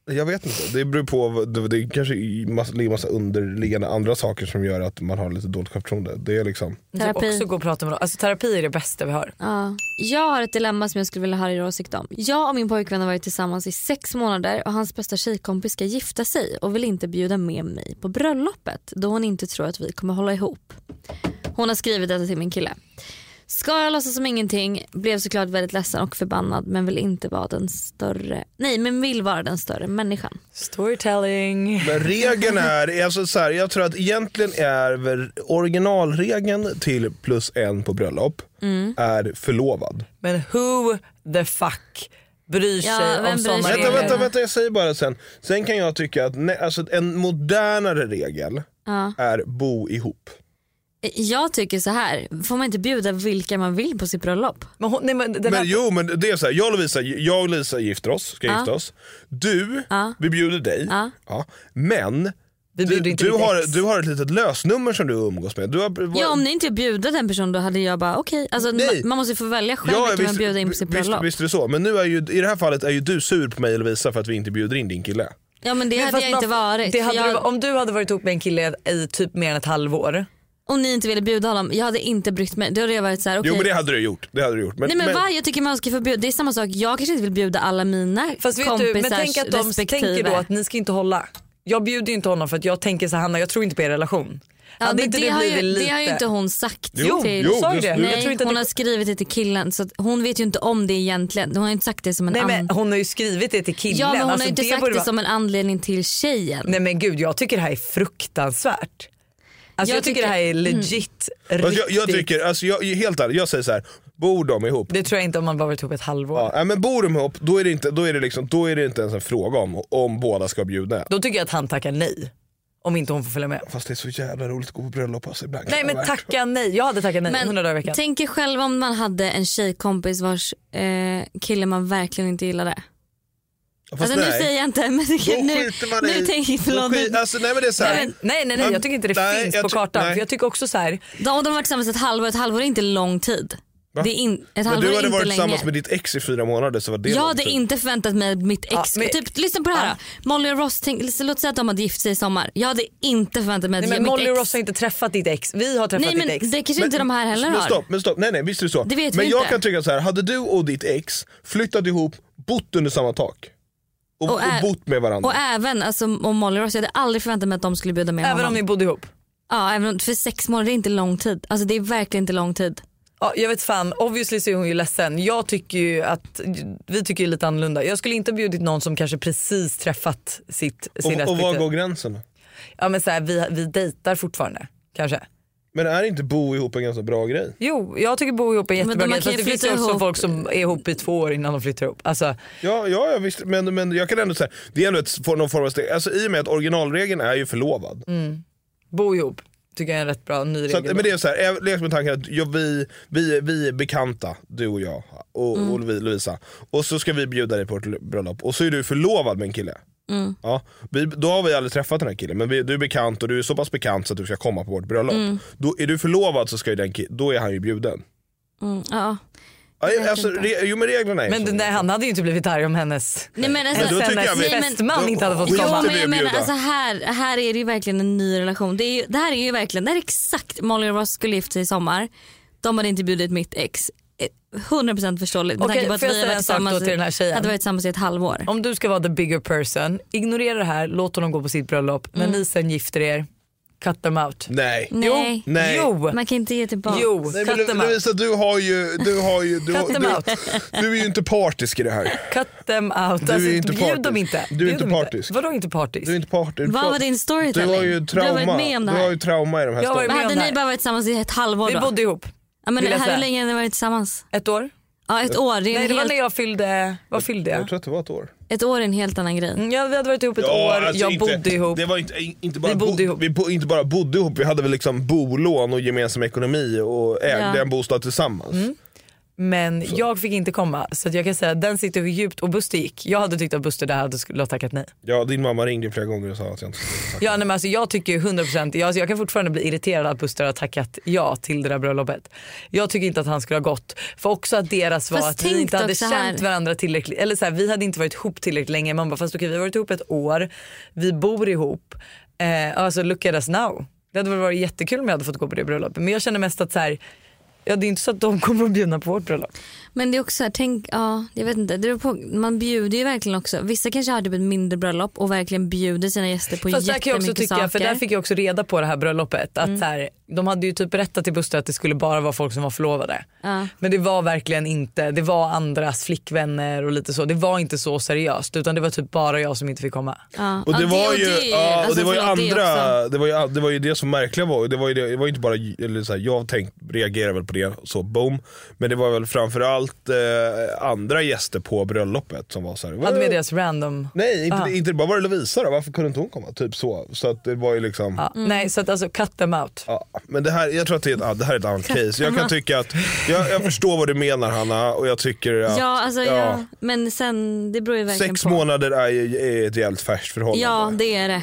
[SPEAKER 2] Jag vet inte, det beror på, vad- det, det kanske i massa- ligger massa underliggande andra saker som gör att man har lite dåligt självförtroende. Det är liksom,
[SPEAKER 1] Terapi.
[SPEAKER 3] Typ också gå och prata med dem. Alltså terapi är det bästa vi har.
[SPEAKER 1] Ja. Jag har ett dilemma som jag skulle vilja höra er åsikt om. Jag och min pojkvän har varit tillsammans i sex månader och hans bästa tjejkompis ska gifta sig och vill inte bjuda med mig på bröllopet då hon inte tror att vi kommer hålla ihop. Hon har skrivit detta till min kille. Ska jag låtsas som ingenting? Blev såklart väldigt ledsen och förbannad men vill inte vara den större, nej men vill vara den större människan.
[SPEAKER 3] Storytelling.
[SPEAKER 2] Men regeln är, alltså så här, jag tror att egentligen är väl originalregeln till plus en på bröllop
[SPEAKER 3] Mm.
[SPEAKER 2] är förlovad.
[SPEAKER 3] Men who the fuck bryr
[SPEAKER 1] Ja,
[SPEAKER 3] sig
[SPEAKER 1] vem
[SPEAKER 3] om
[SPEAKER 1] bryr
[SPEAKER 3] sådana
[SPEAKER 1] sig?
[SPEAKER 2] Vänta,
[SPEAKER 3] regler?
[SPEAKER 2] vänta, vänta, jag säger bara sen. Sen kan jag tycka att nej, alltså, en modernare regel är bo ihop.
[SPEAKER 1] Jag tycker så här, får man inte bjuda vilka man vill på sitt bröllop?
[SPEAKER 3] Men, hon, nej, men, den
[SPEAKER 2] Men
[SPEAKER 3] här,
[SPEAKER 2] jo men det är så här, jag och Lovisa, jag och Lisa gifter oss, ska gifta oss. Du, vi bjuder dig. Ja. Men
[SPEAKER 3] vi
[SPEAKER 2] du,
[SPEAKER 3] bjuder inte
[SPEAKER 2] du,
[SPEAKER 3] ditt
[SPEAKER 2] har,
[SPEAKER 3] ex.
[SPEAKER 2] du har ett litet lösnummer som du umgås med. Du har,
[SPEAKER 1] Ja om ni inte bjuder den personen då hade jag bara okej, alltså,
[SPEAKER 2] Nej.
[SPEAKER 1] ma- man måste ju få välja själv vilka man bjuder in på sitt
[SPEAKER 2] visst,
[SPEAKER 1] bröllop.
[SPEAKER 2] visst är det så. Men nu är ju, i det här fallet är ju du sur på mig Lovisa för att vi inte bjuder in din kille.
[SPEAKER 1] Ja men det
[SPEAKER 3] Men
[SPEAKER 1] hade
[SPEAKER 3] fast
[SPEAKER 1] jag
[SPEAKER 3] man-
[SPEAKER 1] inte varit.
[SPEAKER 3] Det
[SPEAKER 1] för
[SPEAKER 3] hade
[SPEAKER 1] jag,
[SPEAKER 3] du, om du hade varit ihop med en kille i typ mer än ett halvår.
[SPEAKER 1] Om ni inte ville bjuda honom, jag hade inte brytt mig. Då hade jag varit så här, okej.
[SPEAKER 2] Jo men det hade du gjort. Det hade du gjort. Men,
[SPEAKER 1] Nej men,
[SPEAKER 2] men-
[SPEAKER 1] va? Jag tycker man ska få bjuda. Det är samma sak, jag kanske inte vill bjuda alla mina
[SPEAKER 3] Fast vet du,
[SPEAKER 1] kompisars
[SPEAKER 3] men tänk att de
[SPEAKER 1] respektive.
[SPEAKER 3] tänker då att ni ska inte hålla. Jag bjuder ju inte honom för att jag tänker så här, Hanna jag tror inte på er relation.
[SPEAKER 1] ja,
[SPEAKER 3] Hade
[SPEAKER 1] men
[SPEAKER 3] inte
[SPEAKER 1] det, har ju,
[SPEAKER 3] blivit
[SPEAKER 1] det har ju inte hon sagt
[SPEAKER 2] Jo,
[SPEAKER 1] till...
[SPEAKER 2] jo,
[SPEAKER 3] hon sa ju
[SPEAKER 2] just
[SPEAKER 3] det.
[SPEAKER 2] nu.
[SPEAKER 1] Nej,
[SPEAKER 3] jag tror inte att
[SPEAKER 1] hon
[SPEAKER 3] det-
[SPEAKER 1] har skrivit det till killen så att hon vet ju inte om det egentligen. Hon har ju inte sagt det som en
[SPEAKER 3] Nej men
[SPEAKER 1] an-
[SPEAKER 3] hon har ju skrivit det till killen.
[SPEAKER 1] Ja men hon
[SPEAKER 3] Alltså,
[SPEAKER 1] har ju inte sagt
[SPEAKER 3] borde
[SPEAKER 1] det
[SPEAKER 3] vara-
[SPEAKER 1] som en anledning till tjejen.
[SPEAKER 3] Nej men gud jag tycker det här är fruktansvärt. Alltså, jag,
[SPEAKER 1] Jag
[SPEAKER 3] tycker,
[SPEAKER 1] tycker- mm.
[SPEAKER 3] det här är legit,
[SPEAKER 2] Fast
[SPEAKER 3] riktigt.
[SPEAKER 2] jag, jag tycker, alltså jag, helt ärligt, jag säger så här. bor de ihop?
[SPEAKER 3] Det tror jag inte om man bara varit ihop ett halvår.
[SPEAKER 2] Ja, nej, men bor de ihop, då är, det inte, då, är det liksom, då är det inte ens en fråga om, om båda ska bjuda.
[SPEAKER 3] Då tycker jag att han tackar nej. Om inte hon får följa med.
[SPEAKER 2] Fast det är så jävla roligt att gå på bröllop alltså ibland.
[SPEAKER 3] Nej men tacka nej. Jag hade tackat nej 100 dagar i veckan.
[SPEAKER 1] tänk er själv om man hade en tjejkompis vars eh, kille man verkligen inte gillade.
[SPEAKER 2] Fast
[SPEAKER 1] Alltså, nu
[SPEAKER 2] nej.
[SPEAKER 1] säger jag inte men det
[SPEAKER 2] Då
[SPEAKER 1] kan, nu,
[SPEAKER 2] skiter man i.
[SPEAKER 1] nu tänker jag
[SPEAKER 2] Då
[SPEAKER 1] förlåt.
[SPEAKER 2] skit- Alltså, nej men det är så här.
[SPEAKER 3] Nej, men, nej nej nej jag tycker inte det
[SPEAKER 2] Nej,
[SPEAKER 3] finns
[SPEAKER 2] jag
[SPEAKER 3] på
[SPEAKER 2] ty-
[SPEAKER 3] kartan.
[SPEAKER 2] nej.
[SPEAKER 3] För jag tycker också så här.
[SPEAKER 1] Då har de varit tillsammans ett halvår, ett halvår är inte lång tid. Det är in, ett
[SPEAKER 2] men
[SPEAKER 1] halvår
[SPEAKER 2] du
[SPEAKER 1] är
[SPEAKER 2] hade
[SPEAKER 1] inte
[SPEAKER 2] varit
[SPEAKER 1] länge.
[SPEAKER 2] tillsammans med ditt ex i fyra månader så var det
[SPEAKER 1] jag
[SPEAKER 2] lång
[SPEAKER 1] hade
[SPEAKER 2] tid.
[SPEAKER 1] inte förväntat mig att mitt ex...
[SPEAKER 3] Ja, men-
[SPEAKER 1] typ, lyssna på det här då. Molly och Ross, tänk, låt säga att de hade gift sig i sommar. Jag hade inte förväntat mig att
[SPEAKER 3] Nej, men
[SPEAKER 1] mitt
[SPEAKER 3] Molly och
[SPEAKER 1] ex...
[SPEAKER 3] Ross har inte träffat ditt ex. Vi har träffat
[SPEAKER 1] Nej men
[SPEAKER 3] ditt ex.
[SPEAKER 1] det kanske inte de här heller
[SPEAKER 2] men
[SPEAKER 1] har.
[SPEAKER 2] stopp, men stopp, nej nej visst är det så.
[SPEAKER 1] Det vet vi
[SPEAKER 2] men jag
[SPEAKER 1] inte.
[SPEAKER 2] kan tycka så här. hade du och ditt ex flyttat ihop, bott under samma tak och, och,
[SPEAKER 1] ä-
[SPEAKER 2] bott med varandra.
[SPEAKER 1] Och även alltså, om Molly och Ross, jag hade aldrig förväntat mig att de skulle bjuda med
[SPEAKER 3] Även
[SPEAKER 1] honom.
[SPEAKER 3] om ni bodde ihop.
[SPEAKER 1] Ja, även om, för sex månader är inte lång tid. Alltså det är verkligen inte lång tid.
[SPEAKER 3] Ja, jag vet fan, obviously så är hon ju ledsen. Jag tycker ju att, vi tycker ju lite annorlunda. Jag skulle inte ha bjudit någon som kanske precis träffat sitt, sin
[SPEAKER 2] och, och var
[SPEAKER 3] respektive.
[SPEAKER 2] går gränsen?
[SPEAKER 3] Ja men så här, vi, vi dejtar fortfarande kanske.
[SPEAKER 2] Men är inte bo ihop en ganska bra grej?
[SPEAKER 3] Jo, jag tycker bo ihop är
[SPEAKER 1] Men
[SPEAKER 3] jättebra
[SPEAKER 1] man
[SPEAKER 3] grej.
[SPEAKER 1] kan
[SPEAKER 3] Fast
[SPEAKER 1] ju
[SPEAKER 3] det finns ju
[SPEAKER 1] flytta
[SPEAKER 3] också
[SPEAKER 1] ihop.
[SPEAKER 3] folk som är ihop i två år innan de flyttar ihop. Alltså,
[SPEAKER 2] Ja, ja, ja visst. Men, men jag kan ändå säga, det är ändå ett, får någon form av steg. Alltså, I och med att originalregeln är ju förlovad.
[SPEAKER 3] bo ihop tycker jag är en rätt bra ny
[SPEAKER 2] Så att,
[SPEAKER 3] regel.
[SPEAKER 2] men det är så här, jag leker med tanken att jag, vi, vi, vi är bekanta, du och jag och, och Lovi- Lovisa. Och så ska vi bjuda dig på ett bröllop och så är du förlovad med en kille. Ja, vi, då har vi aldrig träffat den här killen men vi, du är bekant och du är så pass bekant så att du ska komma på vårt bröllop. Då, är du förlovad så ska ju den ki- då är han ju bjuden.
[SPEAKER 1] Mm, ja.
[SPEAKER 2] Ja,
[SPEAKER 1] vet
[SPEAKER 2] alltså,
[SPEAKER 1] inte.
[SPEAKER 2] re, jo men reglerna är
[SPEAKER 3] Men
[SPEAKER 2] så.
[SPEAKER 3] den där, han hade ju inte blivit arg om hennes
[SPEAKER 1] Nej, men alltså,
[SPEAKER 2] Men då tycker jag vi-
[SPEAKER 1] Nej, men-
[SPEAKER 3] fästman inte
[SPEAKER 2] Jo,
[SPEAKER 3] hade fått
[SPEAKER 1] Jo
[SPEAKER 3] komma.
[SPEAKER 2] Skapande
[SPEAKER 1] men jag
[SPEAKER 2] bjuda.
[SPEAKER 1] menar alltså här, här är det ju verkligen en ny relation. Det, är ju, det här är ju verkligen, det här är exakt Molly och Ross skulle gifta sig i sommar. De hade inte bjudit mitt ex. Eh, 100% förståeligt med
[SPEAKER 3] Okej,
[SPEAKER 1] tanke på att
[SPEAKER 3] får
[SPEAKER 1] vi
[SPEAKER 3] jag säga
[SPEAKER 1] hade varit,
[SPEAKER 3] en sak då
[SPEAKER 1] tillsammans,
[SPEAKER 3] till den här
[SPEAKER 1] i-
[SPEAKER 3] tjejen?
[SPEAKER 1] hade varit tillsammans i ett halvår.
[SPEAKER 3] Om du ska vara the bigger person, ignorera det här, låt honom gå på sitt bröllop. När ni sen gifter er, cut them out.
[SPEAKER 2] Nej.
[SPEAKER 1] Nej.
[SPEAKER 2] Mm. Jo. Nej.
[SPEAKER 3] Jo,
[SPEAKER 1] Man kan inte ge tillbaka.
[SPEAKER 3] jo,
[SPEAKER 2] Nej, men
[SPEAKER 3] cut them out.
[SPEAKER 2] Lovisa du har ju, du, har ju du,
[SPEAKER 3] Cut
[SPEAKER 2] du,
[SPEAKER 3] them out.
[SPEAKER 2] du är ju inte partisk i det här.
[SPEAKER 3] Cut them out.
[SPEAKER 2] är
[SPEAKER 3] Alltså,
[SPEAKER 2] inte
[SPEAKER 3] bjud
[SPEAKER 2] partisk.
[SPEAKER 3] dem inte.
[SPEAKER 2] Du är
[SPEAKER 3] Bjud
[SPEAKER 2] inte
[SPEAKER 3] dem
[SPEAKER 2] partisk.
[SPEAKER 3] Vadå inte partisk?
[SPEAKER 2] Du är inte partisk.
[SPEAKER 1] Vad var din storytelling?
[SPEAKER 2] Du har
[SPEAKER 1] Du
[SPEAKER 2] ju
[SPEAKER 1] har
[SPEAKER 2] trauma.
[SPEAKER 1] varit med om det
[SPEAKER 2] Du
[SPEAKER 1] här.
[SPEAKER 2] har ju trauma i de här
[SPEAKER 3] Jag har varit
[SPEAKER 1] Men
[SPEAKER 2] storyn.
[SPEAKER 3] med om
[SPEAKER 1] hade
[SPEAKER 3] det här.
[SPEAKER 1] ni bara varit tillsammans i ett halvår
[SPEAKER 3] Vi
[SPEAKER 1] då?
[SPEAKER 3] bodde ihop.
[SPEAKER 1] Ja, Ja, men
[SPEAKER 3] Vill jag
[SPEAKER 1] här, hur
[SPEAKER 3] säga.
[SPEAKER 1] länge har ni varit tillsammans?
[SPEAKER 3] Ett år?
[SPEAKER 1] Ja, ett år. Det är
[SPEAKER 3] Nej
[SPEAKER 1] en
[SPEAKER 3] det var
[SPEAKER 1] helt,
[SPEAKER 3] när jag fyllde, vad fyllde
[SPEAKER 2] Jag
[SPEAKER 3] jag?
[SPEAKER 2] tror att det var ett år.
[SPEAKER 1] ett år är en helt annan grej.
[SPEAKER 3] Mm, Ja, vi hade varit ihop ett år,
[SPEAKER 2] alltså
[SPEAKER 3] jag
[SPEAKER 2] inte-
[SPEAKER 3] bodde ihop.
[SPEAKER 2] Det var inte, inte bara
[SPEAKER 3] Vi bodde
[SPEAKER 2] bo,
[SPEAKER 3] ihop.
[SPEAKER 2] Vi bo, inte bara bodde ihop, vi hade väl liksom bolån och gemensam ekonomi och ägde
[SPEAKER 1] Ja. Mm.
[SPEAKER 2] en bostad tillsammans.
[SPEAKER 3] Men jag fick inte komma så att jag kan säga att den sitter djupt och Buster gick. Jag hade tyckt att Buster där hade skulle ha tackat nej.
[SPEAKER 2] Ja, din mamma ringde flera gånger och sa att jag inte skulle tacka.
[SPEAKER 3] Ja, nej, men alltså, jag tycker ju 100%, jag, alltså, jag kan fortfarande bli irriterad att Buster har tackat ja till det där bröllopet. Jag tycker inte att han skulle ha gått. För också att deras var
[SPEAKER 1] Fast
[SPEAKER 3] att vi
[SPEAKER 1] tänk
[SPEAKER 3] inte hade
[SPEAKER 1] också här-
[SPEAKER 3] känt varandra tillräckligt, eller så här, vi hade inte varit ihop tillräckligt länge. Man bara fast okej vi har varit ihop ett år, vi bor ihop, eh, alltså look at us now. Det hade väl varit jättekul om jag hade fått gå på det bröllopet men jag känner mest att så här, ja, det är inte så att de kommer att bjuda på vårt bröllop.
[SPEAKER 1] Men det är också så här, tänk, ja, jag vet inte. Det beror på, man bjuder ju verkligen också. Vissa kanske har typ ett mindre bröllop och verkligen bjuder sina gäster på
[SPEAKER 3] Fast där
[SPEAKER 1] jättemycket
[SPEAKER 3] kan jag också tycka,
[SPEAKER 1] saker. Mm.
[SPEAKER 3] för där fick jag också reda på det här bröllopet att så här, de hade ju typ berättat till Buster att det skulle bara vara folk som var förlovade.
[SPEAKER 1] Ja.
[SPEAKER 3] Men det var verkligen inte, det var andras flickvänner och lite så. Det var inte så seriöst utan det var typ bara jag som inte fick komma.
[SPEAKER 1] ja.
[SPEAKER 2] Och det
[SPEAKER 1] Ja,
[SPEAKER 2] var
[SPEAKER 1] och
[SPEAKER 2] ju
[SPEAKER 1] det-
[SPEAKER 2] ja, och
[SPEAKER 1] alltså,
[SPEAKER 2] det var ju
[SPEAKER 1] förlåt, det också.
[SPEAKER 2] andra, det var ju det var ju det som märkliga var. Det var ju det, det var ju inte bara, eller så här, jag tänkt, reagerade väl på det så boom. Men det var väl framförallt eh, andra gäster på bröllopet som var så här.
[SPEAKER 3] Hade med deras random.
[SPEAKER 2] Nej, inte,
[SPEAKER 3] Ah.
[SPEAKER 2] inte bara var det Lovisa då, varför kunde inte hon komma? Typ så. Så att det var ju liksom
[SPEAKER 3] Ja.
[SPEAKER 1] Mm.
[SPEAKER 3] Nej så att alltså cut them out.
[SPEAKER 2] Ja, men det här, jag tror att det är ett, ja, det här är ett annat case. Jag kan tycka att, jag, jag förstår vad du menar Hanna och jag tycker att
[SPEAKER 1] Ja, alltså, ja.
[SPEAKER 2] ja,
[SPEAKER 1] men sen det beror ju verkligen
[SPEAKER 2] sex
[SPEAKER 1] på.
[SPEAKER 2] månader är, ju- är ett jävligt färskt förhållande.
[SPEAKER 1] Ja, det är det.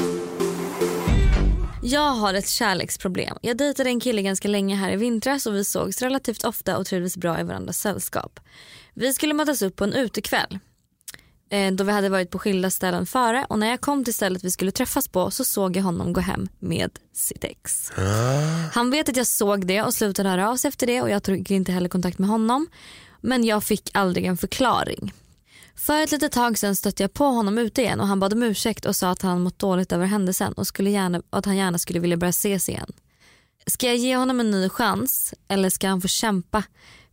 [SPEAKER 1] Jag har ett kärleksproblem. Jag dejtade en kille ganska länge här i vintras och vi sågs relativt ofta och trivdes bra i varandras sällskap. Vi skulle mötas upp på en utekväll eh, då vi hade varit på skilda ställen före och när jag kom till stället vi skulle träffas på så såg jag honom gå hem med sitt ex. Han vet att jag såg det och slutade höra av sig efter det och jag tog inte heller kontakt med honom. Men jag fick aldrig en förklaring. För ett litet tag sen stötte jag på honom ute igen och han bad om ursäkt och sa att han mått dåligt över händelsen och skulle gärna, att han gärna skulle vilja börja ses igen. Ska jag ge honom en ny chans eller ska han få kämpa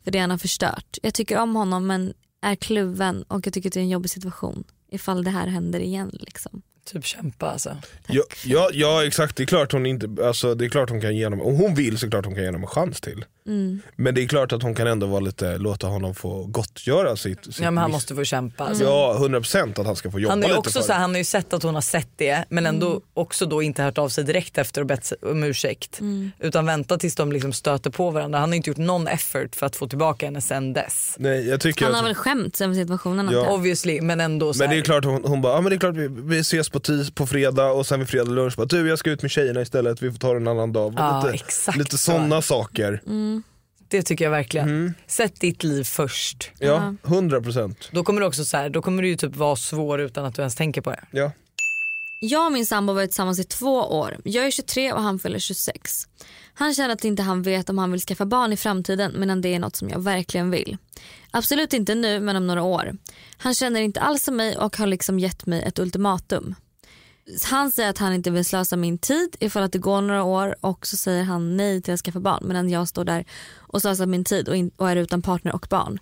[SPEAKER 1] för det han har förstört? Jag tycker om honom men är kluven och jag tycker att det är en jobbig situation ifall det här händer igen. Liksom.
[SPEAKER 3] Typ kämpa alltså.
[SPEAKER 2] Ja, ja, ja exakt, det är klart hon inte, alltså, det är klart hon kan ge honom, om hon vill så klart hon kan ge honom en chans till. Men det är klart att hon kan ändå vara lite, låta honom få gottgöra sitt, sitt
[SPEAKER 3] Ja men han
[SPEAKER 2] miss-
[SPEAKER 3] måste få kämpa. Alltså.
[SPEAKER 2] Ja, 100% att han ska få jobba
[SPEAKER 3] Han har, ju
[SPEAKER 2] lite
[SPEAKER 3] också
[SPEAKER 2] för
[SPEAKER 3] så här,
[SPEAKER 2] det.
[SPEAKER 3] han har ju sett att hon har sett det men ändå också då inte hört av sig direkt efter och bett om ursäkt. Utan väntat tills de liksom stöter på varandra. Han har inte gjort någon effort för att få tillbaka henne sen dess.
[SPEAKER 2] Nej, jag tycker
[SPEAKER 1] Han har
[SPEAKER 2] att-
[SPEAKER 1] väl skämts över situationen? antar jag.
[SPEAKER 3] Obviously men ändå så
[SPEAKER 2] Men det
[SPEAKER 3] här,
[SPEAKER 2] är klart hon, hon bara, ja men det är klart vi, vi ses på, tis, på fredag och sen vid fredag lunch bara, du jag ska ut med tjejerna istället, vi får ta det en annan dag.
[SPEAKER 3] Ja,
[SPEAKER 2] lite
[SPEAKER 3] exakt
[SPEAKER 2] lite
[SPEAKER 3] så.
[SPEAKER 2] sådana saker.
[SPEAKER 3] det tycker jag verkligen.
[SPEAKER 2] Mm.
[SPEAKER 3] Sätt ditt liv först.
[SPEAKER 2] Ja, 100 procent.
[SPEAKER 3] Då kommer, det också så här, då kommer du ju typ vara svår utan att du ens tänker på det.
[SPEAKER 2] Ja.
[SPEAKER 1] Jag och min sambo har varit tillsammans i två år. Jag är 23 och han fyller 26. Han känner att inte han vet om han vill skaffa barn i framtiden medan det är något som jag verkligen vill. Absolut inte nu men om några år. Han känner inte alls som mig och har liksom gett mig ett ultimatum. Han säger att han inte vill slösa min tid ifall att det går några år och så säger han nej till att skaffa barn medan jag står där och slösar min tid och, in- och är utan partner och barn.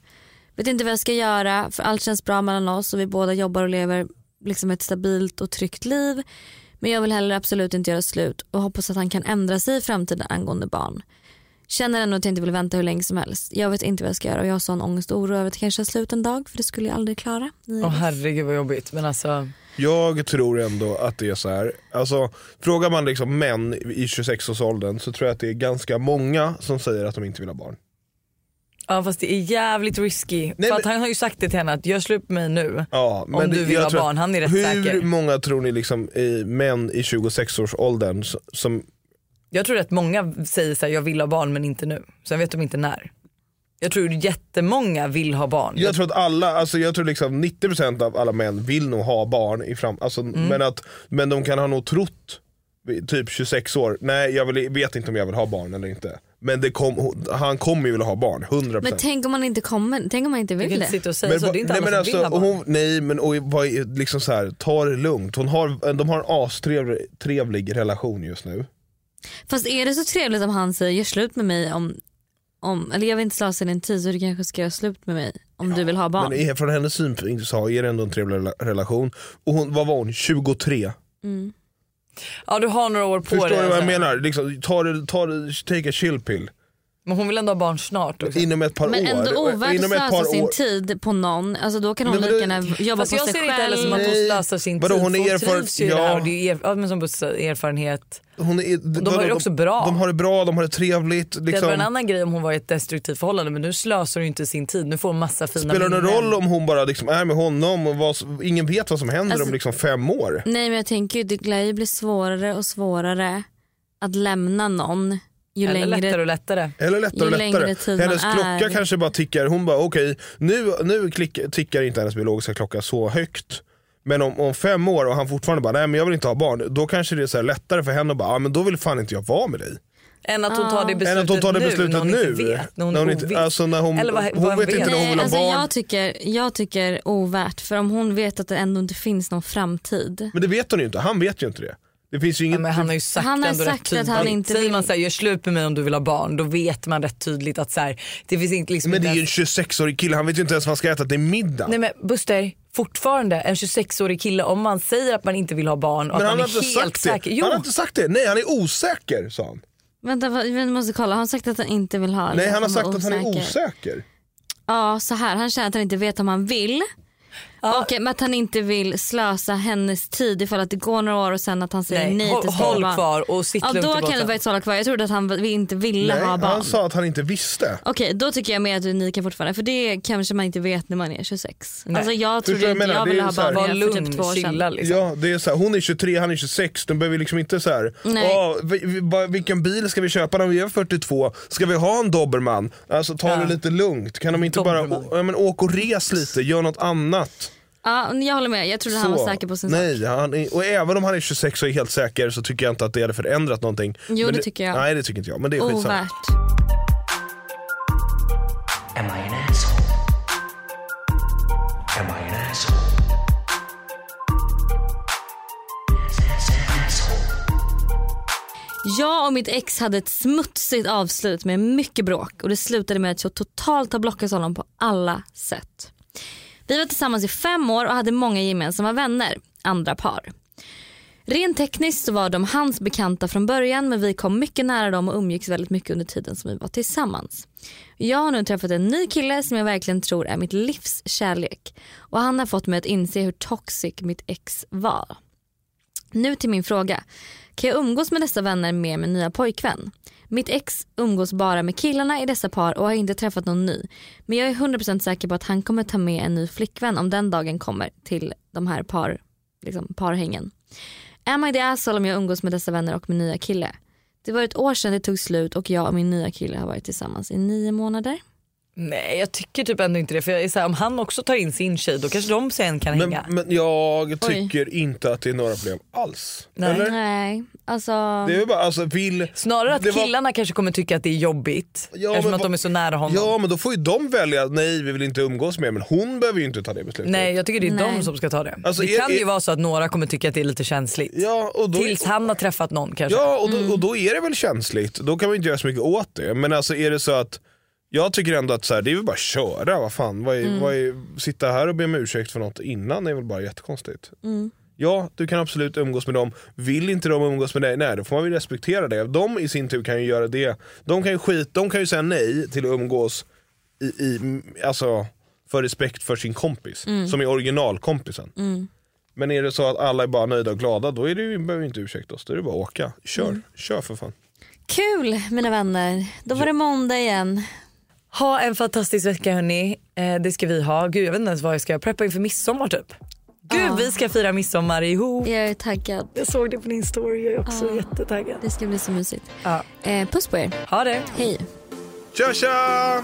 [SPEAKER 1] Vet inte vad jag ska göra för allt känns bra mellan oss och vi båda jobbar och lever liksom ett stabilt och tryggt liv. Men jag vill heller absolut inte göra slut och hoppas att han kan ändra sig i framtiden angående barn. Känner ändå att jag inte vill vänta hur länge som helst. Jag vet inte vad jag ska göra och jag har sån ångest och oro över att det kanske är slut en dag för det skulle jag aldrig klara. Ni
[SPEAKER 3] Åh herregud vad jobbigt. Men alltså,
[SPEAKER 2] Jag tror ändå att det är så här. Alltså, frågar man liksom män i 26-årsåldern så tror jag att det är ganska många som säger att de inte vill ha barn.
[SPEAKER 3] ja, fast det är jävligt risky. för att
[SPEAKER 2] men-
[SPEAKER 3] han har ju sagt det till henne att gör slut med mig nu.
[SPEAKER 2] Ja,
[SPEAKER 3] Om du vill
[SPEAKER 2] jag
[SPEAKER 3] ha
[SPEAKER 2] tror att-
[SPEAKER 3] barn, han är rätt
[SPEAKER 2] hur
[SPEAKER 3] säker.
[SPEAKER 2] många tror ni liksom, i, män i 26-årsåldern s- som
[SPEAKER 3] Jag tror att många säger så här, jag vill ha barn men inte nu. Sen vet de inte när. Jag tror jättemånga vill ha barn.
[SPEAKER 2] Jag tror att alla, alltså jag tror liksom 90% av alla män vill nog ha barn i fram, alltså, men, att, men de kan ha nog trott vid typ 26 år, nej jag vill, vet inte om jag vill ha barn eller inte. Men det kom, han kommer ju vilja ha barn, 100%.
[SPEAKER 1] Men tänk om man inte kommer, tänk om man inte
[SPEAKER 3] jag kan
[SPEAKER 1] vill
[SPEAKER 3] inte
[SPEAKER 1] det.
[SPEAKER 3] sitta och säga Typ, så,
[SPEAKER 2] vad-
[SPEAKER 3] det är inte
[SPEAKER 2] nej,
[SPEAKER 3] alla
[SPEAKER 2] men alltså,
[SPEAKER 3] som vill ha barn.
[SPEAKER 2] hon, nej men och, vad är- liksom så här, ta det lugnt. Hon har, de har en astrevlig trevlig relation just nu.
[SPEAKER 1] Fast är det så trevligt om han säger gör slut med mig om, om eller jag vill inte slösa din tid så du kanske ska göra slut med mig om du vill ha barn.
[SPEAKER 2] Men är- från hennes synpunkt så är det ändå en trevlig rela- relation. Och hon, vad var hon, 23?
[SPEAKER 1] Mm.
[SPEAKER 3] Ja du har några år på
[SPEAKER 2] Förstår
[SPEAKER 3] dig.
[SPEAKER 2] du vad jag
[SPEAKER 3] alltså.
[SPEAKER 2] menar? Liksom, ta det, ta det, take a chill pill.
[SPEAKER 3] Men hon vill ändå ha barn snart också.
[SPEAKER 2] Inom ett par
[SPEAKER 1] Men
[SPEAKER 2] år.
[SPEAKER 1] ändå
[SPEAKER 2] inom ett
[SPEAKER 1] ovärd
[SPEAKER 2] par
[SPEAKER 1] slösa sin
[SPEAKER 2] år-
[SPEAKER 1] tid på någon. Alltså då kan hon
[SPEAKER 2] Nej, men
[SPEAKER 1] lika
[SPEAKER 2] det-
[SPEAKER 1] gärna jobba
[SPEAKER 3] Fast
[SPEAKER 1] på
[SPEAKER 3] jag
[SPEAKER 1] sig
[SPEAKER 3] ser inte heller
[SPEAKER 1] själv.
[SPEAKER 3] som att hon
[SPEAKER 2] Nej.
[SPEAKER 3] slösar sin
[SPEAKER 2] Vadå,
[SPEAKER 3] tid.
[SPEAKER 2] hon
[SPEAKER 3] för
[SPEAKER 2] är
[SPEAKER 3] hon
[SPEAKER 2] erfaren-
[SPEAKER 3] trivs ju i det här
[SPEAKER 2] Ja.
[SPEAKER 3] och det är ju er, ja, men som Bosse sa, erfarenhet.
[SPEAKER 2] Hon är, de,
[SPEAKER 3] har det också bra.
[SPEAKER 2] De har det bra, de har det trevligt.
[SPEAKER 3] Det hade varit
[SPEAKER 2] Liksom.
[SPEAKER 3] en annan grej om hon var i ett destruktivt förhållande men nu slösar hon ju inte sin tid. Nu får hon massa fina
[SPEAKER 2] Spelar det någon
[SPEAKER 3] minnen.
[SPEAKER 2] roll om hon bara liksom är med honom och vad, som- ingen vet vad som händer
[SPEAKER 1] Alltså-
[SPEAKER 2] om liksom fem år?
[SPEAKER 1] Nej men jag tänker ju det lär ju bli svårare och svårare att lämna någon ju
[SPEAKER 3] Eller lättare
[SPEAKER 1] längre.
[SPEAKER 3] och lättare.
[SPEAKER 2] Eller lättare
[SPEAKER 1] Ju
[SPEAKER 2] och
[SPEAKER 1] längre
[SPEAKER 2] lättare.
[SPEAKER 1] tid man
[SPEAKER 2] Hennes klocka
[SPEAKER 1] är.
[SPEAKER 2] kanske bara tickar. Hon bara okej, nu, nu klick, tickar inte hennes biologiska klocka så högt. Men om, om fem år och han fortfarande bara nej men jag vill inte ha barn. Då kanske det är så här lättare för henne att bara ah, men då vill fan inte jag vara med dig.
[SPEAKER 3] Än att hon
[SPEAKER 1] Ah.
[SPEAKER 3] tar det beslutet,
[SPEAKER 2] Än att hon tar det
[SPEAKER 3] nu, när
[SPEAKER 2] beslutet
[SPEAKER 3] hon
[SPEAKER 2] nu.
[SPEAKER 3] inte vet. När hon,
[SPEAKER 2] När hon
[SPEAKER 3] är
[SPEAKER 2] inte-
[SPEAKER 3] oviss.
[SPEAKER 2] alltså när hon-
[SPEAKER 3] Eller vad,
[SPEAKER 2] hon
[SPEAKER 3] vad
[SPEAKER 2] vet inte när hon
[SPEAKER 1] Nej,
[SPEAKER 2] vill ha
[SPEAKER 1] alltså
[SPEAKER 2] barn.
[SPEAKER 1] jag tycker, jag tycker ovärt för om hon vet att det ändå inte finns någon framtid.
[SPEAKER 2] Men det vet hon ju inte, han vet ju inte det. Det finns ju
[SPEAKER 3] Ja,
[SPEAKER 2] inget,
[SPEAKER 3] men han har ju sagt
[SPEAKER 1] Han har
[SPEAKER 3] ändå
[SPEAKER 1] sagt
[SPEAKER 3] rätt tydligt.
[SPEAKER 1] att han inte
[SPEAKER 3] Säger man
[SPEAKER 1] vill-
[SPEAKER 3] såhär, gör slut med mig om du vill ha barn, då vet man rätt tydligt att så här, det finns inte liksom
[SPEAKER 2] men det
[SPEAKER 3] inte
[SPEAKER 2] är ju en
[SPEAKER 3] ens-
[SPEAKER 2] 26-årig kille, han vet ju inte ens vad han ska äta till middag.
[SPEAKER 3] Nej men Buster, fortfarande en 26-årig kille om man säger att man inte vill ha barn och
[SPEAKER 2] men
[SPEAKER 3] att
[SPEAKER 2] han
[SPEAKER 3] man
[SPEAKER 2] har
[SPEAKER 3] är
[SPEAKER 2] inte
[SPEAKER 3] helt
[SPEAKER 2] sagt
[SPEAKER 3] säker.
[SPEAKER 2] det.
[SPEAKER 3] Jo,
[SPEAKER 2] Han har inte sagt det. Nej han är osäker sa han.
[SPEAKER 1] Vänta vad- vi måste kolla, har han sagt att han inte vill ha? liksom
[SPEAKER 2] Nej
[SPEAKER 1] eller
[SPEAKER 2] han har
[SPEAKER 1] var
[SPEAKER 2] sagt att han är osäker.
[SPEAKER 1] Ja så här, han känner att han inte vet om han vill. Och eh, men att han inte vill slösa hennes tid ifall att det går några år och sen att han säger
[SPEAKER 3] Nej,
[SPEAKER 1] nej,
[SPEAKER 3] håll-
[SPEAKER 1] till stora
[SPEAKER 3] håll
[SPEAKER 1] barn.
[SPEAKER 3] kvar och sitt
[SPEAKER 1] Ja
[SPEAKER 3] lugnt i
[SPEAKER 1] då kan
[SPEAKER 3] båten.
[SPEAKER 1] det faktiskt hålla kvar. Jag trodde att han v- inte ville
[SPEAKER 2] Nej,
[SPEAKER 1] ha barn.
[SPEAKER 2] han sa att han inte visste.
[SPEAKER 1] Okej, då tycker jag mer att du är unika fortfarande. För det kanske man inte vet när man är 26. Alltså jag
[SPEAKER 2] Förstår
[SPEAKER 1] trodde
[SPEAKER 2] jag
[SPEAKER 1] inte
[SPEAKER 2] menar?
[SPEAKER 1] jag
[SPEAKER 2] Det är
[SPEAKER 1] ville
[SPEAKER 2] ju
[SPEAKER 1] ha
[SPEAKER 2] så här-
[SPEAKER 1] barn
[SPEAKER 3] var
[SPEAKER 1] redan för typ
[SPEAKER 3] lugn,
[SPEAKER 1] två år
[SPEAKER 3] chilla
[SPEAKER 1] sedan.
[SPEAKER 3] liksom.
[SPEAKER 2] Ja, det är så här, hon är 23, han är 26. De behöver liksom inte så här,
[SPEAKER 1] Nej.
[SPEAKER 2] "Åh, vi, vi, vad- vilken bil ska vi köpa när vi är 42? Ska vi ha en dobermann? Alltså ta det lite lugnt. Kan de inte bara
[SPEAKER 3] Dobermann.
[SPEAKER 2] å, ja, men, åka och res lite, gör något annat.
[SPEAKER 1] Ja, men jag håller med. Jag trodde han var
[SPEAKER 2] Så.
[SPEAKER 1] säker på sin sak.
[SPEAKER 2] Nej, han är, och även om han är 26 och är helt säker så tycker jag inte att det hade förändrat någonting.
[SPEAKER 1] Jo,
[SPEAKER 2] Men
[SPEAKER 1] det tycker jag.
[SPEAKER 2] Nej det tycker inte jag, men det är skitsamma.
[SPEAKER 1] Ovärt.
[SPEAKER 9] Am I an asshole? Am I an asshole?
[SPEAKER 1] Jag och mitt ex hade ett smutsigt avslut med mycket bråk och det slutade med att jag totalt har blockat honom på alla sätt. Vi var tillsammans i fem år och hade många gemensamma vänner, andra par. Rent tekniskt så var de hans bekanta från början men vi kom mycket nära dem och umgicks väldigt mycket under tiden som vi var tillsammans. Jag har nu träffat en ny kille som jag verkligen tror är mitt livs kärlek och han har fått mig att inse hur toxic mitt ex var. Nu till min fråga. Kan jag umgås med dessa vänner med min nya pojkvän? Mitt ex umgås bara med killarna i dessa par och har inte träffat någon ny. Men jag är 100% säker på att han kommer ta med en ny flickvän om den dagen kommer till de här par, liksom, parhängen. Am I the asshole om jag umgås med dessa vänner och min nya kille? Det var ett år sedan det tog slut och jag och min nya kille har varit tillsammans i nio månader.
[SPEAKER 3] Nej jag tycker typ ändå inte det. För jag är så här, om han också tar in sin tjej då kanske de sen kan
[SPEAKER 2] Men,
[SPEAKER 3] hänga.
[SPEAKER 2] men jag
[SPEAKER 1] Oj.
[SPEAKER 2] tycker inte att det är några problem alls.
[SPEAKER 3] Nej.
[SPEAKER 2] Eller?
[SPEAKER 1] Nej, alltså...
[SPEAKER 2] Det är ju bara, alltså vill...
[SPEAKER 3] Snarare att
[SPEAKER 2] det var-
[SPEAKER 3] killarna kanske kommer tycka att det är jobbigt
[SPEAKER 2] Ja,
[SPEAKER 3] eftersom
[SPEAKER 2] men
[SPEAKER 3] att de
[SPEAKER 2] vad-
[SPEAKER 3] är så nära honom.
[SPEAKER 2] Ja men då får ju de välja, nej vi vill inte umgås mer men hon behöver ju inte ta det beslutet.
[SPEAKER 3] Nej jag tycker det är de
[SPEAKER 1] Nej.
[SPEAKER 3] som ska ta det.
[SPEAKER 2] Alltså,
[SPEAKER 3] det
[SPEAKER 2] är-
[SPEAKER 3] kan ju
[SPEAKER 2] är-
[SPEAKER 3] vara så att några kommer tycka att det är lite känsligt.
[SPEAKER 2] Ja, och då,
[SPEAKER 3] Tills han har träffat någon kanske.
[SPEAKER 2] ja och, då, och då är det väl känsligt, då kan man inte göra så mycket åt det. Men alltså är det så att jag tycker ändå att så här, det är väl bara att köra, vad fan. Vad är, vad är, sitta här och be om ursäkt för något innan är väl bara jättekonstigt. Ja, du kan absolut umgås med dem. Vill inte de umgås med dig, nej då får man väl respektera det. De i sin tur kan ju göra det. De kan ju, skit, de kan ju säga nej till att umgås i, i, alltså, för respekt för sin kompis, som är originalkompisen. Men är det så att alla är bara nöjda och glada, då är det ju, behöver vi inte ursäkta oss. Då är det bara att åka. Kör, kör för fan.
[SPEAKER 1] Kul mina vänner, då var det måndag igen.
[SPEAKER 3] Ha en fantastisk vecka hörni. Eh, det ska vi ha. Gud jag vet inte ens vad jag ska göra. Preppa inför midsommar typ. Gud vi ska fira midsommar ihop.
[SPEAKER 1] Jag är taggad.
[SPEAKER 3] Jag såg det på din story jag är också jättetaggad.
[SPEAKER 1] Det ska bli så mysigt.
[SPEAKER 3] Ja.
[SPEAKER 1] Eh, puss på er.
[SPEAKER 3] Ha det.
[SPEAKER 1] Hej.
[SPEAKER 2] Tja tja!